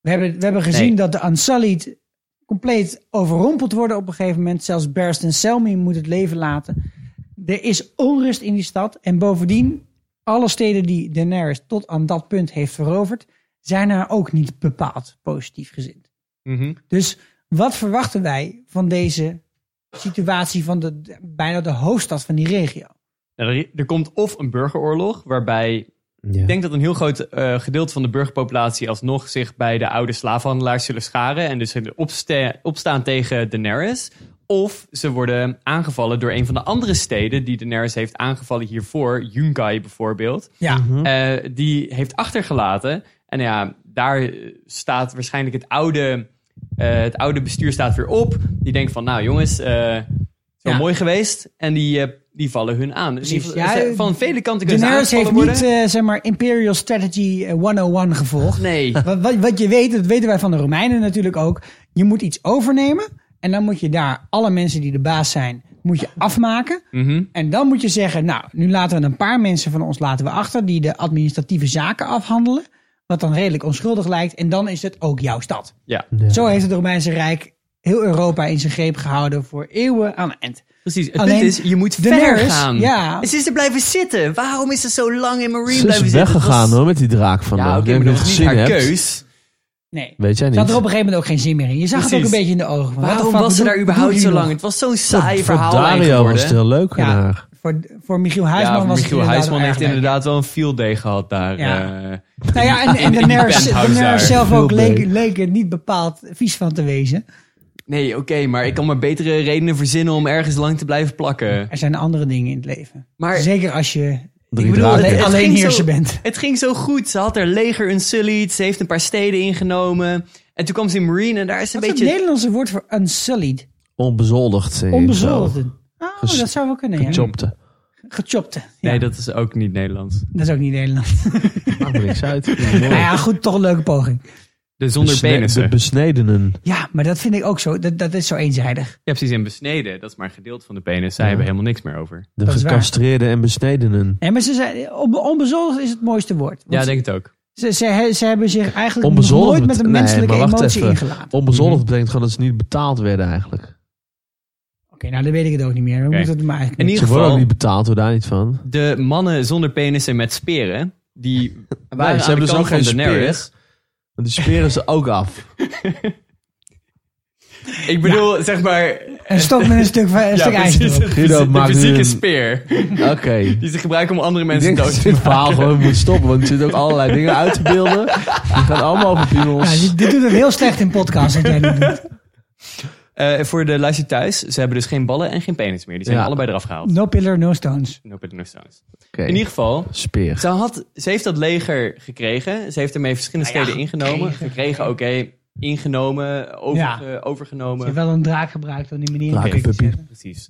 We hebben, we hebben gezien Nee. dat de Unsullied compleet overrompeld worden op een gegeven moment. Zelfs Barristan Selmy moet het leven laten. Er is onrust in die stad. En bovendien, alle steden die Daenerys tot aan dat punt heeft veroverd... zijn haar ook niet bepaald positief gezind. Mhm. Dus wat verwachten wij van deze situatie van de, de- bijna de hoofdstad van die regio? Nou, er, er komt of een burgeroorlog, waarbij Ja. ik denk dat een heel groot eh, gedeelte van de burgerpopulatie alsnog zich bij de oude slaafhandelaars zullen scharen en dus zullen opste- opstaan tegen Daenerys. Of ze worden aangevallen door een van de andere steden die Daenerys heeft aangevallen hiervoor, Yunkai bijvoorbeeld. Ja, Eh, die heeft achtergelaten. En ja, daar eh, staat waarschijnlijk het oude, eh, het oude bestuur staat weer op. Die denkt van, nou jongens, eh, het is wel Ja. mooi geweest. En die, eh, die vallen hun aan. Dus die- Precies. Ja, ze- van vele kanten kunnen ze Daenerys heeft aangevallen worden. niet, eh, zeg maar, Imperial Strategy eh, 101 gevolgd. nee. Wat, wat, wat je weet, dat weten wij van de Romeinen natuurlijk ook. Je moet iets overnemen en dan moet je daar alle mensen die de baas zijn, moet je afmaken. Mhm. En dan moet je zeggen, nou, nu laten we een paar mensen van ons laten we achter die de administratieve zaken afhandelen. Wat dan redelijk onschuldig lijkt. En dan is het ook jouw stad. Ja, Ja. Zo heeft het Romeinse Rijk heel Europa in zijn greep gehouden voor eeuwen aan eind. precies. Het Alleen punt is, je moet Daenerys, verder gaan. ja. Ze is er blijven zitten. Waarom is ze zo lang in Marine Ze blijven is zitten? weggegaan Dat was- hoor, met die draak van Ja, haar. oké, Die maar heb dat ik was niet gezien haar hebt. keus. Nee. Weet jij Ze niet. had er op een gegeven moment ook geen zin meer in. Je zag het ook Precies. een beetje in de ogen. van, what the Waarom fuck, was ze bedoel- daar bedoel überhaupt je zo nog? lang? Het was zo'n saai voor verhaal Dario was het heel leuk van Ja. haar. Voor, voor Michiel Huisman ja, was het Michiel inderdaad Huisman wel heeft erg leuk. inderdaad wel een field day gehad daar. Ja. eh. Nou ja, en, en in- in die Daenerys, penthouse Daenerys daar. zelf ook Veel leek, beter. leek er niet bepaald vies van te wezen. nee, oké, maar ik kan maar betere redenen verzinnen om ergens lang te blijven plakken. Er zijn andere dingen in het leven. Maar- Zeker als je Drie bedoel, draken. het- het alleen ging zo- heerser bent. Het ging zo goed. Ze had haar leger unsullied. Ze heeft een paar steden ingenomen. En toen kwam ze in Marine en daar is een Wat is het beetje... Nederlandse woord voor unsullied? Onbezoldigd. zeg ik zo. Onbezoldigden. Oh, Ges- dat zou wel kunnen, ja. Chopte. Gechopte. Ja, Nee, dat is ook niet Nederlands. dat is ook niet Nederlands. Maakt me niks uit. Nou ja, goed, toch een leuke poging. De zonder Besne- penissen. De besnedenen. Ja, maar dat vind ik ook zo. Dat, dat is zo eenzijdig. ja, precies. En besneden, dat is maar een gedeelte van de penis. Zij Ja. hebben helemaal niks meer over. De Dat is waar. gecastreerden en besnedenen. Nee, maar ze zijn, on- onbezoldigd is het mooiste woord. Want Ja, ik denk het ook. ze, ze, he- ze hebben zich eigenlijk nog Onbezoldigd nooit met een bet- nee, menselijke maar wacht emotie even. ingelaten. Oké, Onbezorgd Mhm. betekent gewoon dat ze niet betaald werden eigenlijk. nou dan weet ik het ook niet meer. We Oké. moeten het maar eigenlijk In niet- Ze ieder worden ook geval, niet betaald, hoor daar niet van. de mannen zonder penissen met speren, die waren Nee, aan ze hebben de dus kant ook van geen speer. Daenerys. Want die speren ze ook af. Ik bedoel, zeg maar... En stop met een stuk, van- een stuk ijzer erop. Guido De maakt nu fysieke een- speer. Oké. Die ze gebruiken om andere Ik mensen denk dat dood ze te dit verhaal gewoon moet stoppen. Want er zitten ook allerlei dingen uit te beelden. Die gaan allemaal over Ja, piemels. dit, dit doet het heel slecht in podcasts. wat jij nu doet. Eh, voor de luister thuis, ze hebben dus geen ballen en geen penis meer. Die zijn Ja. allebei eraf gehaald. No pillar, no stones. No pit, no stones. Oké. In ieder geval, Speer. ze, had, ze heeft dat leger gekregen. Ze heeft ermee verschillende Nou ja, steden ingenomen. gekregen. Gekregen, oké. Ingenomen, over, Ja. overgenomen. Ze heeft wel een draak gebruikt om die manier in Draak- te puppy. zetten. Precies.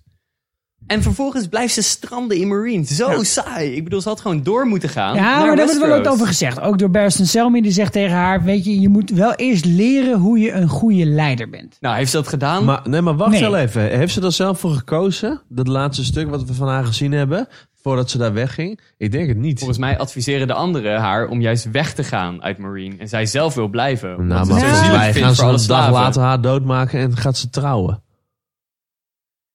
En vervolgens blijft ze stranden in Marine. Zo saai. Ik bedoel, ze had gewoon door moeten gaan. Ja, naar maar daar wordt wel Westeros. wat over gezegd. Ook door Barristan Selmy, die zegt tegen haar... weet je, je moet wel eerst leren hoe je een goede leider bent. Nou, heeft ze dat gedaan? Maar, nee, maar wacht Nee. wel even. Heeft ze er zelf voor gekozen? Dat laatste stuk wat we van haar gezien hebben. Voordat ze daar wegging? Ik denk het niet. Volgens mij adviseren de anderen haar om juist weg te gaan uit Marine. En zij zelf wil blijven. omdat Nou, ze maar het zo volgens zielig mij vindt gaan voor ze alle een dag slaven. later haar doodmaken en gaat ze trouwen.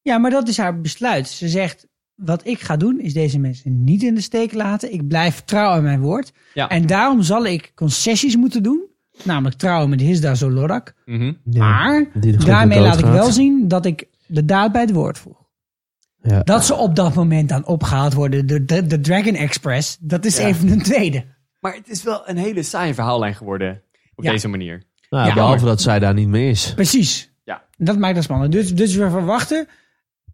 Ja, maar dat is haar besluit. Ze zegt, wat ik ga doen is deze mensen niet in de steek laten. Ik blijf trouw aan mijn woord. Ja. En daarom zal ik concessies moeten doen. Namelijk trouwen met Hisda Zolorak. Mhm. maar die de groep daarmee laat ik doodgaat. wel zien dat ik de daad bij het woord voeg. Ja. Dat ze op dat moment dan opgehaald worden door de, de Dragon Express, dat is Ja. even een tweede. Maar het is wel een hele saaie verhaallijn geworden. Op Ja. deze manier. Nou, Ja, behalve maar- dat zij daar niet meer is. Precies. Ja. Dat maakt het spannend. Dus, dus we verwachten,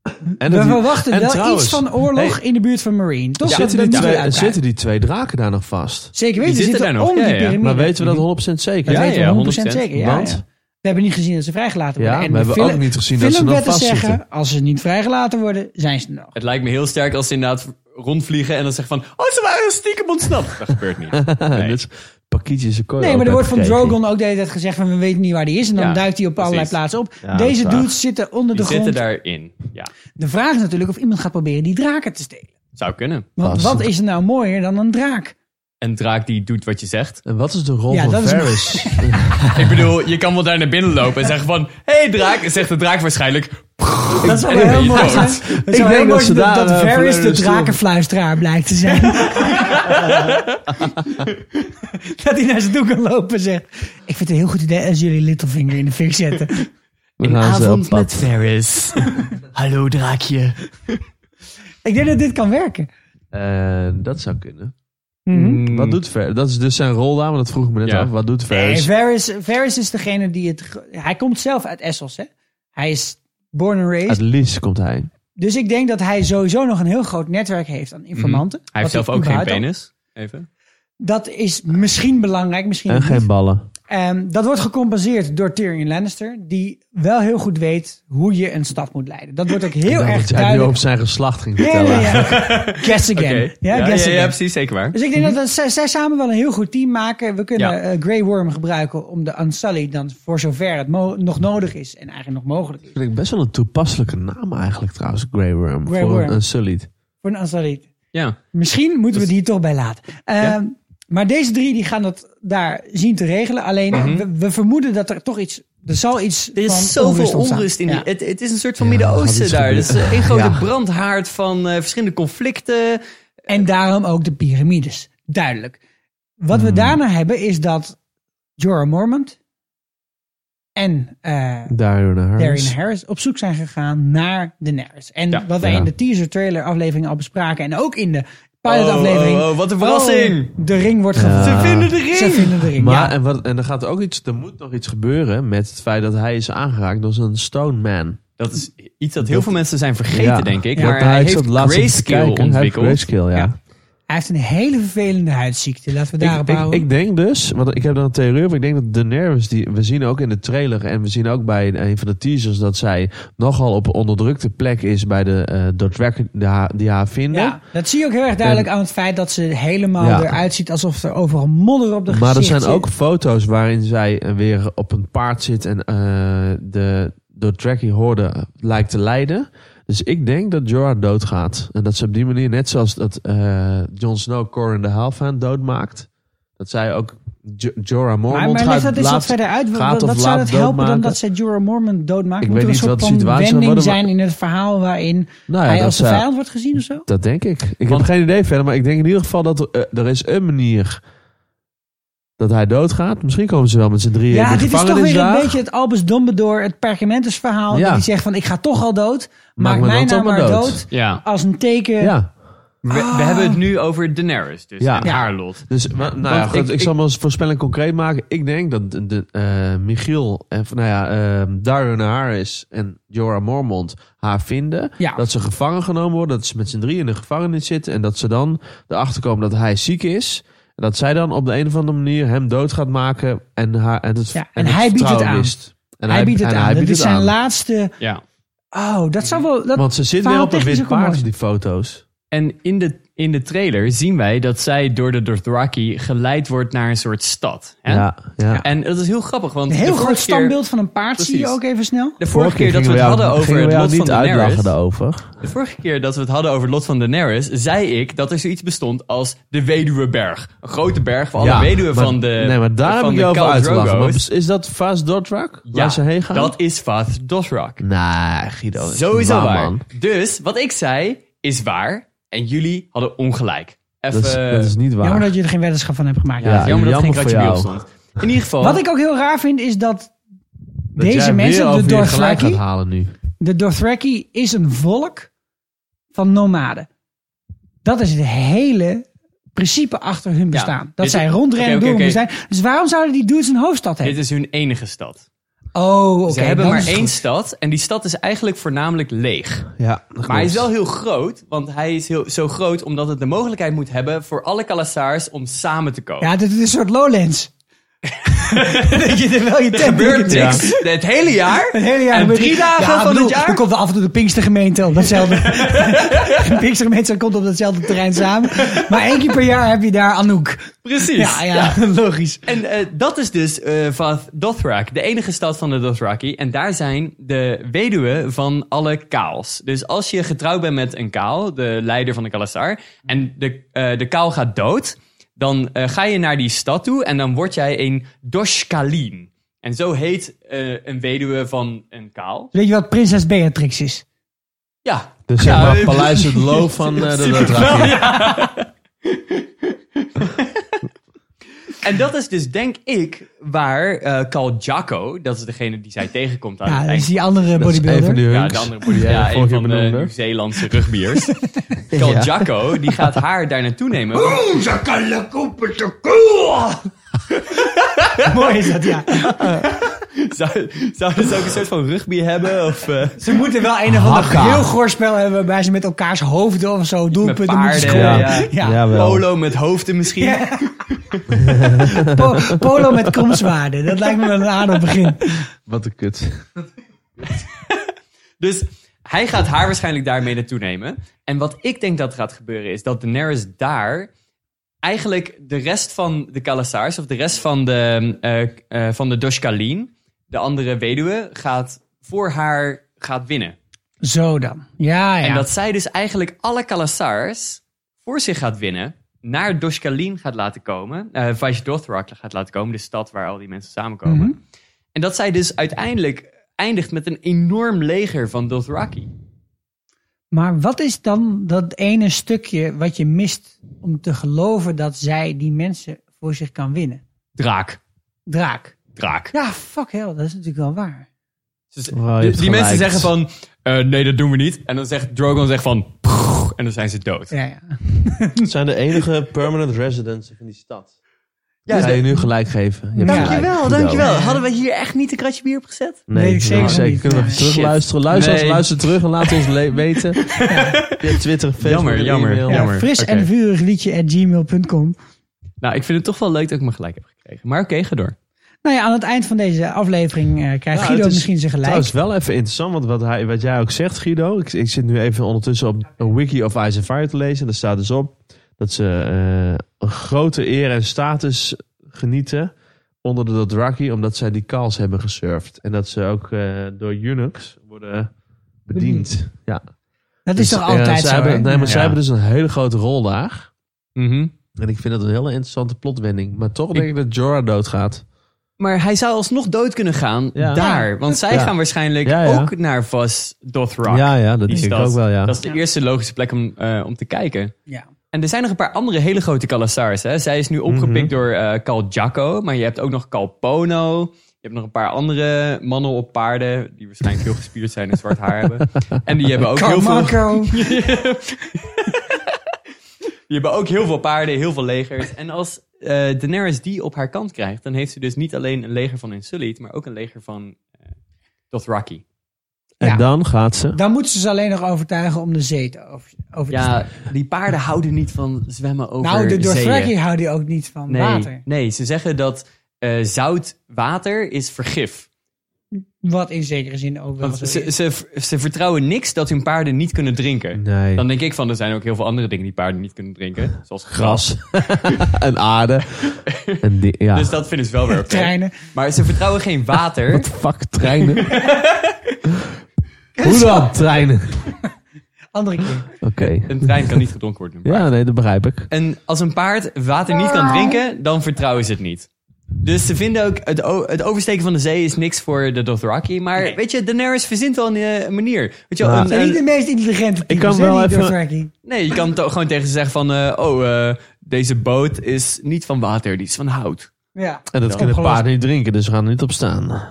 En we dat die- verwachten en wel trouwens, iets van oorlog hey, in de buurt van Marine. Toch? Dat- zitten, dat die moeten we twee, uitkrijgen. zitten die twee draken daar nog vast? Zeker weten, Die ze zitten zitten daar nog, onder ja, die ja. piramide. Maar weten we dat 100% zeker? Dat Ja, weten ja, we 100% 100% zeker. Ja, Want? ja. We hebben niet gezien dat ze vrijgelaten Ja, worden. En we de hebben ook niet gezien dat ze filmwetten nog vastzitten. zeggen, als ze niet vrijgelaten worden, zijn ze er nog. Het lijkt me heel sterk als ze inderdaad rondvliegen en dan zeggen van... Oh, ze waren stiekem ontsnapt. Dat gebeurt niet. Nee. Dus pakketjes en kooi Nee, maar ook er wordt van uitgekeken. Drogon ook de hele tijd gezegd van we weten niet waar die is. En dan Ja, duikt hij op allerlei precies. plaatsen op. Ja, Deze dat is waar. dudes zitten onder de Die grond. zitten daarin. Ja, De vraag is natuurlijk of iemand gaat proberen die draken te stelen. zou kunnen. Want Past. wat is er nou mooier dan een draak? Een draak die doet wat je zegt. En wat is de rol Ja, van dat is- Varys? Ik bedoel, je kan wel daar naar binnen lopen en zeggen van... Hé hey, draak, En zegt de draak waarschijnlijk... Dat zou wel ben heel je mooi dood. zijn. Ik Het zou heel denk dat mooi ze zijn dat, daar, dat eh, Varys de volledig stil- drakenfluisteraar blijkt te zijn. dat hij naar zijn toe kan lopen en zegt... Ik vind het een heel goed idee als jullie Littlefinger in de fik zetten. We gaan ze op pad. Ferris. Hallo draakje. Ik denk dat dit kan werken. Eh, dat zou kunnen. Mm, Mhm. Wat doet Varys? Dat is dus zijn rol daar, maar dat vroeg ik me net Ja. af. Wat doet Nee, Varys? Varys, Varys is degene die het... ge- Hij komt zelf uit Essos, hè? Hij is born and raised. Uit Lys komt hij. Dus ik denk dat hij sowieso nog een heel groot netwerk heeft aan informanten. Mhm. Hij heeft Wat zelf ook geen überhaupt al- penis. Even. Dat is misschien belangrijk, misschien En niet. geen ballen. Ehm, dat wordt gecompenseerd door Tyrion Lannister, die wel heel goed weet hoe je een stad moet leiden. Dat wordt ook Ik heel dacht erg dat jij nu duidelijk. op zijn geslacht ging Nee, vertellen. nee, ja. Guess again. Oké. Ja, ja, guess ja, ja, again. precies, zeker waar. Dus ik denk dat dat zij, zij samen wel een heel goed team maken. We kunnen Mhm. Ja. eh, Grey Worm gebruiken om de Unsullied dan voor zover het mo- nog nodig is en eigenlijk nog mogelijk is. Vind ik best wel een toepasselijke naam eigenlijk trouwens, Grey Worm. Grey voor Worm. een Sullied. Voor een Unsullied. Ja. Misschien moeten we het hier toch bij laten. Ehm, Maar deze drie die gaan dat daar zien te regelen. Alleen eh, we, we vermoeden dat er toch iets. Er zal iets. Mhm. Er van is zoveel ontstaan. onrust in. Ja. die- Het, het is een soort van Ja, gaat Midden-Oosten iets daar. Het is gebeuren. een grote Ja. brandhaard van eh, verschillende conflicten. En daarom ook de piramides. Duidelijk. Wat Mhm. we daarna hebben is dat Jorah Mormont en eh Daarna Darren Harris. Harris op zoek zijn gegaan naar Daenerys. En Ja. wat wij Ja. in de teaser trailer aflevering al bespraken en ook in de pilot aflevering. Oh, oh, oh, wat een verrassing! de ring wordt Ja. gevonden. Ze vinden de ring! Ze vinden de ring. Maar, ja. en, wat, en er gaat ook iets, er moet nog iets gebeuren met het feit dat hij is aangeraakt door een stone man. Dat is iets dat heel veel mensen zijn vergeten, denk ik. Ja, Maar dat- hij ik heeft zat laatst even te grayscale kijken. Hij heeft ontwikkeld. grayscale, ja. Ja. Hij heeft een hele vervelende huidziekte. Laten we Ik, daarop ik, houden. ik denk dus, want ik heb dan een theorie over. Ik denk dat Daenerys, die, we zien ook in de trailer en we zien ook bij een van de teasers dat zij nogal op een onderdrukte plek is bij de eh Dothraki die haar, die haar vinden. ja, dat zie je ook heel erg duidelijk aan het feit dat ze helemaal Ja. eruit ziet alsof er overal modder op de maar er gezicht zijn zit. ook foto's waarin zij eh, weer op een paard zit en eh, de Dothraki horde eh, lijkt te leiden. Dus ik denk dat Jorah doodgaat. En dat ze op die manier, net zoals dat eh Jon Snow Corin de Halfhand doodmaakt, dat zij ook Jo- Jorah Maar, Mormont maar gaat ligt dat is wat laat- verder uit. gaat Wat, of wat zou laat dat helpen dan doodmaken? dat zij Jorah Mormont doodmaakt? Ik Moet weet er een niet soort wat de van situatie zou wending worden, maar- zijn in het verhaal waarin Nou ja, hij dat als de zij- vijand wordt gezien of zo? Dat denk ik. Ik Want- heb geen idee verder, maar ik denk in ieder geval dat er, eh, er is een manier dat hij doodgaat. Misschien komen ze wel met z'n drieën Ja, in de dit is toch weer een gevangenisdag. beetje het Albus Dombedor, het Pergamentus verhaal. Ja. Die zegt van ik ga toch al dood. Maak, Maak me mij dan nou toch maar maar dood. dood. Ja. Als een teken. Ja, We, we Ah. hebben het nu over Daenerys dus. Ja. En Ja. haar lot. dus maar, nou ja, Want goed, ik- ik, ik- zal mijn voorspelling concreet maken. Ik denk dat de, de, eh, Michiel, en nou ja, eh, Dario Harris en Jorah Mormont haar vinden. Ja. Dat ze gevangen genomen worden, dat ze met z'n drieën in de gevangenis zitten. En dat ze dan erachter komen dat hij ziek is. En dat zij dan op de een of andere manier hem dood gaat maken. En, haar, en, het, Ja, en hij biedt het vertrouwen aan. mist. En Hij biedt het en aan. hij Dit biedt is het zijn aan. laatste. Ja. Oh, dat zou wel. Dat, Want ze zit weer verhaal op een technisch wit ook wel paard, mooi. die foto's. En in de, in de trailer zien wij dat zij door de Dothraki geleid wordt naar een soort stad. Hè? Ja, ja. En dat is heel grappig, want een de heel vorige groot keer- standbeeld van een paard zie je Precies. ook even snel. De vorige keer dat we het hadden over het lot van niet Daenerys... uitlachen daarover. De vorige keer dat we het hadden over het lot van Daenerys... zei ik dat er zoiets bestond als de Weduweberg. Een grote berg voor alle weduwen maar- van de Nee, maar daar van heb ik de je over Khal uitgelachen. Drogo's. Maar is- is dat Fast Dotrak? Ja, waar ze heen gaan? dat is Vaas Dothraki. Nee, Guido. dat is Sowieso niet waar. man. Dus wat ik zei is waar. En jullie hadden ongelijk. Even, Dat is, dat is niet waar. Jammer dat je er geen weddenschap van hebt gemaakt. Ja, Ja, jammer dat er geen jammer kratje voor bier op jou. stond. In ieder geval... Wat ik ook heel raar vind is dat, Dat jij deze weer mensen, de over je gelijk gaat Dothraki, halen nu. de Dothraki is een volk van nomaden. Dat is het hele principe achter hun bestaan. dat dit- zij rondrennen oké, oké, door hun oké. bestaan. Dus waarom zouden die dudes een hoofdstad hebben? Dit is hun enige stad. oh, oké. Ze hebben dat maar is één goed. stad en die stad is eigenlijk voornamelijk leeg. Maar Ja, hij is wel heel groot, want hij is heel, zo groot omdat het de mogelijkheid moet hebben voor alle Khalasars om samen te komen. Ja, dit is een soort lowlands. dat je er wel je er tent gebeurt in- Ja. niks het hele jaar. Het hele jaar en gebeurt drie niks. dagen Ja, van bedoel, het jaar. Dan komt er af en toe de Pinkstergemeente op datzelfde. de Pinkstergemeente komt op datzelfde terrein samen. Maar één keer per jaar heb je daar Anouk. Precies. Ja, ja, logisch. En eh, dat is dus eh Vath Dothrak, de enige stad van de Dothraki. En daar zijn de weduwen van alle kaals. Dus als je getrouwd bent met een kaal, de leider van de Kalasar, en de, eh, de kaal gaat dood, dan eh, ga je naar die stad toe en dan word jij een Doshkalin. En zo heet eh, een weduwe van een kaal. Weet je wat prinses Beatrix is? Ja. Dus zeg ja, maar, eh, Paleis het loof van eh, de Dothraki. En dat is dus, denk ik, waar eh Kal Jaco, dat is degene die zij tegenkomt aan Ja, het dat eind is die andere Dat is een van bodybuilder. die Ja, hunks de andere die politie. jij Ja, vorige een keer van de benoemde. Nieuw-Zeelandse rugbiers. Kel Ja. Jacco, die gaat haar daar naartoe nemen. Mooi is dat, ja. Zou- Zouden ze ook een soort van rugby hebben? Of, eh, Ze moeten wel een of ander Hakka. heel goorspel hebben waarbij ze met elkaars hoofden of zo met doelpunten moeten paarden. scoren. Ja. Ja. Ja. Jawel. Polo met hoofden misschien. Ja. Po- polo met kromzwaarden. Dat lijkt me wel een aardig begin. Wat een kut. Dus hij gaat haar waarschijnlijk daarmee naartoe nemen. En wat ik denk dat gaat gebeuren is dat Daenerys daar eigenlijk de rest van de Kalasars of de rest van de, eh eh van de Doshkalin, de andere weduwe, gaat voor haar gaat winnen. Zo dan. Ja, ja. En dat zij dus eigenlijk alle Kalasars voor zich gaat winnen. Naar Doshkalin gaat laten komen. eh Vash Dothrak gaat laten komen. De stad waar al die mensen samenkomen. En dat zij dus uiteindelijk eindigt met een enorm leger van Dothraki. Maar wat is dan dat ene stukje wat je mist om te geloven dat zij die mensen voor zich kan winnen? Draak. Draak. Draak. Ja, fuck hell, dat is natuurlijk wel waar. Dus Oh, je hebt die, die gelijk. mensen zeggen van... eh, nee, dat doen we niet. En dan zegt Drogon zegt van... "Pff," En dan zijn ze dood. Ja, ja. Het zijn de enige permanent residents van die stad. Ja, ga je nu gelijk geven. Je hebt gelijk. Dankjewel, Goed dankjewel. Ja. Hadden we hier echt niet een kratje bier op gezet? Nee, Weet ik zeker nou, niet. Kunnen we Nee. even terug Shit. luisteren? Luister, Nee. luister terug en laat ons le- weten. Via Twitter, Facebook, Jammer, en jammer, e-mail. Ja, jammer. fris Oké. en vurig liedje at gmail.com. Nou, ik vind het toch wel leuk dat ik me gelijk heb gekregen. Maar oké, ga door. Nou ja, aan het eind van deze aflevering eh, krijgt Nou, Guido het is misschien zijn gelijk. Trouwens, wel even interessant, want wat, hij, wat jij ook zegt, Guido. Ik, ik zit nu even ondertussen op een wiki of Ice and Fire te lezen. En daar staat dus op dat ze eh, een grote eer en status genieten onder de Dothraki, omdat zij die kals hebben gesurfd. En dat ze ook eh, door eunuchs worden bediend. Ja. dat is toch altijd zo? Dus, eh, Ze hebben, hè? nee, maar Ja. zij hebben dus een hele grote rol daar. Mhm. En ik vind dat een hele interessante plotwending. Maar toch denk ik dat Jorah doodgaat. Maar hij zou alsnog dood kunnen gaan Ja. daar. Want zij Ja. gaan waarschijnlijk Ja, ja. ook naar Vos Dothrak. Ja, ja, dat Die denk ik stad. ook wel, ja. Dat is de Ja. eerste logische plek om, eh, om te kijken. Ja. En er zijn nog een paar andere hele grote Khalasars. Hè? Zij is nu opgepikt Mhm. door eh Cal Jaco. Maar je hebt ook nog Cal Pono. Je hebt nog een paar andere mannen op paarden. Die waarschijnlijk heel gespierd zijn en zwart haar hebben. En die hebben ook heel veel... Carmarco. Je hebt ook heel veel paarden, heel veel legers. En als eh Daenerys die op haar kant krijgt, dan heeft ze dus niet alleen een leger van Insulied, maar ook een leger van eh, Dothraki. En Ja. dan gaat ze. Dan moeten ze ze alleen nog overtuigen om de zee te over, over te Ja, die paarden houden niet van zwemmen over Nou, de Dothraki zeeën. houden ook niet van nee, water. Nee, ze zeggen dat eh, zout water is vergif. Wat in zekere zin ook wel Want zo ze, is. ze, ze vertrouwen niks dat hun paarden niet kunnen drinken. Nee. Dan denk ik van, er zijn ook heel veel andere dingen die paarden niet kunnen drinken. Zoals gras. gras en aarde. En die, ja. Dus dat vinden ze wel weer oké. Treinen. Maar ze vertrouwen geen water. What the fuck, treinen? Hoe dan, treinen? Andere keer. Oké. Een trein kan niet gedronken worden. door een Ja, nee, dat begrijp ik. En als een paard water niet kan drinken, dan vertrouwen ze het niet. Dus ze vinden ook, het, o- het oversteken van de zee is niks voor de Dothraki. Maar weet je, Daenerys verzint wel een eh, manier. Weet je, wel, Ja. een- Zijn niet een- de meest intelligente types, kan hè, wel die even- Dothraki. nee, je kan to- gewoon tegen ze zeggen van... eh, oh, eh, deze boot is niet van water, die is van hout. Ja. En dat kunnen Opgelost. paarden niet drinken, dus we gaan er niet op staan.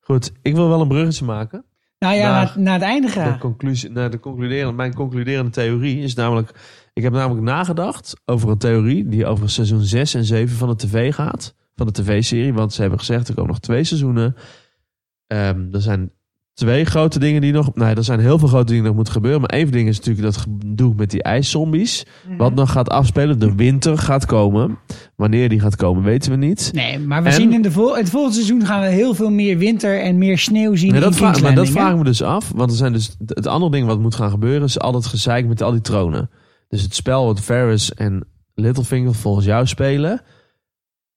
Goed, ik wil wel een bruggetje maken. Nou ja, Naar- naar, naar het einde De graag. conclusie, naar de concluderende, mijn concluderende theorie is namelijk... Ik heb namelijk nagedacht over een theorie die over seizoen 6 en 7 van de tv gaat. Van de tv-serie, want ze hebben gezegd er komen nog twee seizoenen. Ehm, er zijn twee grote dingen die nog... Nee, er zijn heel veel grote dingen die nog moeten gebeuren. Maar één ding is natuurlijk dat gedoe met die ijszombies. Wat nog gaat afspelen. De winter gaat komen. Wanneer die gaat komen, weten we niet. Nee, maar we En- zien in de vol het volgende seizoen gaan we heel veel meer winter en meer sneeuw zien Nee, in dat vraag, maar dat Kingslanding, hè? vraag ik me dus af. Want er zijn dus, het andere ding wat moet gaan gebeuren is al dat gezeik met al die tronen. Dus het spel wat Ferris en Littlefinger volgens jou spelen,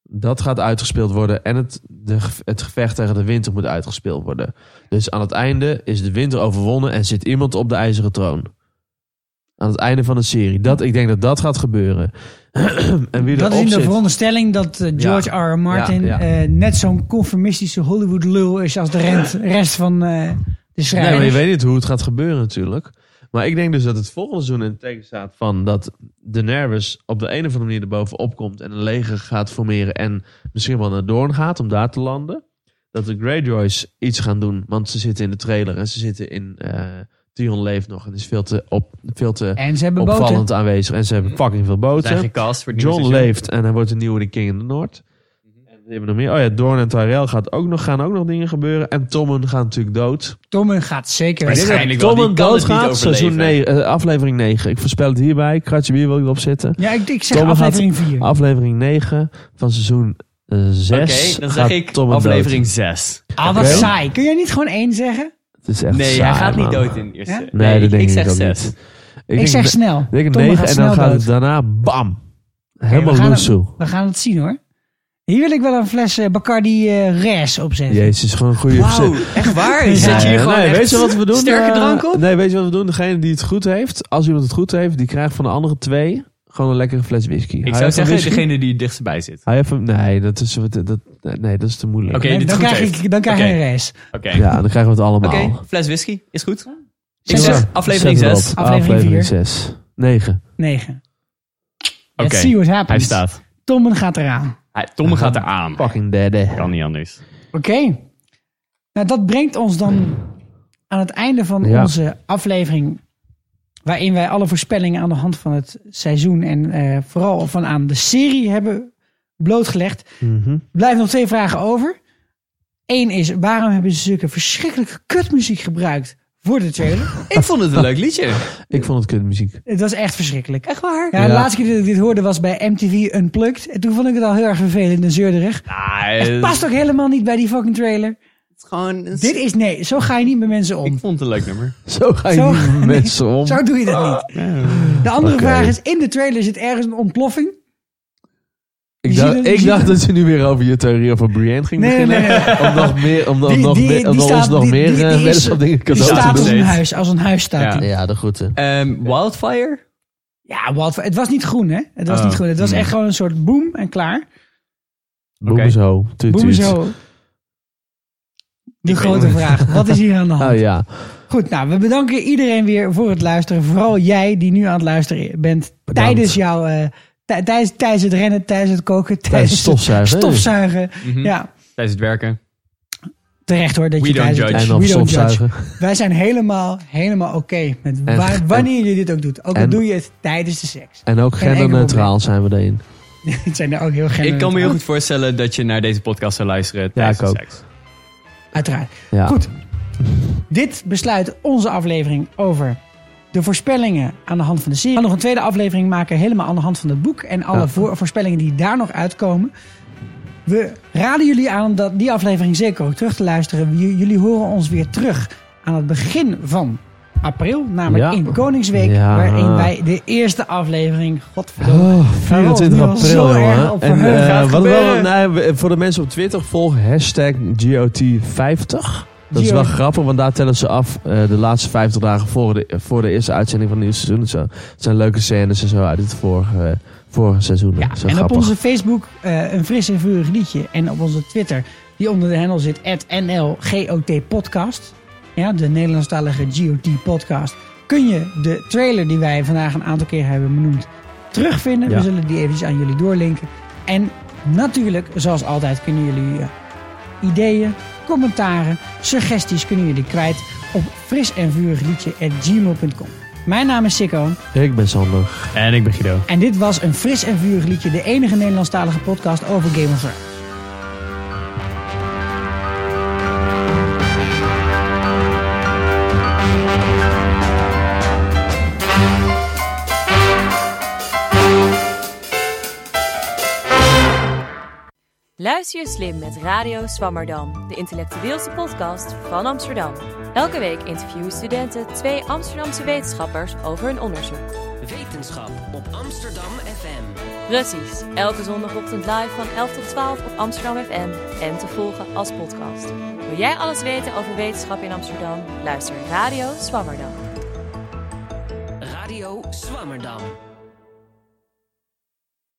dat gaat uitgespeeld worden. En het, de, ge- het gevecht tegen de winter moet uitgespeeld worden. Dus aan het einde is de winter overwonnen en zit iemand op de ijzeren troon. Aan het einde van de serie. Dat, ik denk dat dat gaat gebeuren. en wie Dat is erop in de zit, veronderstelling dat eh, George R. R. Martin Ja, eh, net zo'n conformistische Hollywood lul is als de rent- rest van eh, de Nee, schrijvers. maar je weet niet hoe het gaat gebeuren natuurlijk. Maar ik denk dus dat het volgende seizoen in het teken staat van dat Daenerys op de een of andere manier erbovenop komt en een leger gaat formeren en misschien wel naar Doorn gaat om daar te landen. Dat de Greyjoys iets gaan doen, want ze zitten in de trailer en ze zitten in eh Tion leeft nog en is veel te, op, veel te en ze hebben boten. Mhm. opvallend aanwezig en ze hebben fucking veel boten. Zijn gecast voor het nieuwe John seizoen. leeft en hij wordt de nieuwe de King in the North. Mhm. En we hebben nog meer. Oh ja, Doorn en Tyrell gaat ook nog, gaan ook nog dingen gebeuren. En Tommen gaat natuurlijk dood. Tommen gaat zeker. Maar weg. dit- Waarschijnlijk wel, Tom die kan het niet doodgaat, overleven. seizoen negen- eh, aflevering 9. Ik voorspel het hierbij. Kratje bier wil ik erop zetten. Ja, ik, ik zeg Tommen gaat- Ah, aflevering 4. Aflevering 9 van seizoen eh, 6. Oké, dan zeg gaat ik Tom en aflevering 6. Ah, wat Oké. saai. Kun jij niet gewoon één zeggen? dood. Het is echt Nee, saai, hij gaat niet man. dood in de eerste. Ja? Nee, Nee, dat denk ik ik, zeg ook 6. niet. Ik, denk- zeg snel. Ik denk Tommen 9 gaat en dan snel gaat het dood. daarna bam. Helemaal we gaan loesoe. We gaan het zien hoor. Hier wil ik wel een fles eh, Bacardi eh Res opzetten. Jezus, gewoon een goede Wauw, echt waar? Je Zet je hier Ja, gewoon nee, echt weet je wat we doen? sterke Eh, drank op? Nee, weet je wat we doen? Degene die het goed heeft, als iemand het goed heeft, die krijgt van de andere twee gewoon een lekkere fles whisky. Hij Ik zou heeft een zeggen, whisky? degene die het dichtst bij zit. Hij heeft hem, nee, dat is, dat, dat, nee, dat is te moeilijk. Oké, Nee, dit dan, goed krijg heeft. ik, dan krijg Oké. je een Res. Oké, Ja, dan krijgen we het Oké, allemaal. fles whisky, is goed. Ik Zes. zeg aflevering Zet het 6. erop. Aflevering Aflevering vier. 6. 9. 9. Oké, Let's see what happens. hij staat. Tommen gaat eraan. Hij, Tomme gaat er aan. Fucking derde. Kan niet anders. Oké. Nou, dat brengt ons dan aan het einde van Ja. onze aflevering. Waarin wij alle voorspellingen aan de hand van het seizoen en eh, vooral van aan de serie hebben blootgelegd. Mhm. Blijven nog twee vragen over. Eén is, waarom hebben ze zulke verschrikkelijke kutmuziek gebruikt voor de trailer? Ik vond het een leuk liedje. Ik vond het kutmuziek. Het was echt verschrikkelijk. Echt waar? Ja, de Ja. laatste keer dat ik dit hoorde was bij MTV Unplugged. En toen vond ik het al heel erg vervelend en zeurderig. Eh, Het past ook helemaal niet bij die fucking trailer. het gewoon. Dit is, nee, zo ga je niet met mensen om. Ik vond het een leuk nummer. Zo ga je Zo- niet met mensen om. Ah. Zo doe je dat niet. De andere Oké. vraag is, in de trailer zit ergens een ontploffing? ik je dacht, ziet het- je ik dacht ziet dat ze nu weer over je theorie over Brienne ging Nee, nee, beginnen. nee. nee. Om nog meer, om, Die- nog die- meer, die om ons staat- nog die- meer die- die eh, is- weddenschap dingen Die cadeau te staat doen. Eh, als een steeds. huis, als een huis staat Ja. die. Ja, de groeten. Ehm, Wildfire? Ja, wat, het was niet groen, hè? Het was Oh, niet groen. Het was nee. echt gewoon een soort boom en klaar. Boem Oké. zo. Tuut, Boem tuut. zo. De Ik grote weet vraag. Wat is hier aan de hand? Oh ja. Goed, nou, we bedanken iedereen weer voor het luisteren. Vooral jij die nu aan het luisteren bent tijdens jouw... eh, tij- tijdens, tijdens het rennen, tijdens het koken, Tijdens tijdens het het stofzuigen. stofzuigen. Mhm. Ja, Tijdens het werken. terecht hoor. Dat We je don't tijdens het- judge. En op We don't judge. stofzuigen. Wij zijn helemaal, helemaal oké met En- waar- wanneer je dit ook doet. Ook al en- doe je het tijdens de seks. En ook Geen enkel genderneutraal zijn we daarin. Het zijn er ook heel gender. Ik kan me heel goed voorstellen dat je naar deze podcast zou luisteren tijdens ik ook. de seks. Uiteraard. Ja. Goed. Dit besluit onze aflevering over de voorspellingen aan de hand van de serie. We gaan nog een tweede aflevering maken, helemaal aan de hand van het boek. En alle Ja. voor- voorspellingen die daar nog uitkomen. We raden jullie aan dat die aflevering zeker ook terug te luisteren. J- jullie horen ons weer terug aan het begin van april. Namelijk Ja. in Koningsweek. Ja. Waarin wij de eerste aflevering, godverdomme, Oh, Waarom? 24 Nu al zo april, erg jongen. op En verheugd. eh, Gaat wat wel, gebeuren. nou, we- voor de mensen op Twitter, volg hashtag GOT50. Dat is wel GOT. grappig, want daar tellen ze af eh, de laatste 50 dagen voor de, voor de eerste uitzending van het nieuwe seizoen. Het zijn- Het zijn leuke scènes en zo uit het vorige, eh, vorige seizoen. Ja, Dat is wel en op grappig. onze Facebook eh, een fris en vurig liedje. En op onze Twitter, die onder de handle zit, NLGOT podcast. Ja, de Nederlandstalige GOT podcast. Kun je de trailer die wij vandaag een aantal keer hebben benoemd terugvinden. Ja. We zullen die eventjes aan jullie doorlinken. En natuurlijk, zoals altijd, kunnen jullie eh, ideeën, commentaren, suggesties kunnen jullie kwijt op fris en vurig liedje Mijn naam is Sikko. Ik ben Sander. En ik ben Guido. En dit was een fris en vurig liedje, de enige Nederlandstalige podcast over Game of Thrones. Luister je slim met Radio Swammerdam, de intellectueelste podcast van Amsterdam. Elke week interviewen studenten twee Amsterdamse wetenschappers over hun onderzoek. Wetenschap op Amsterdam FM. Precies, elke zondagochtend live van 11 tot 12 op Amsterdam FM en te volgen als podcast. Wil jij alles weten over wetenschap in Amsterdam? Luister Radio Swammerdam. Radio Swammerdam.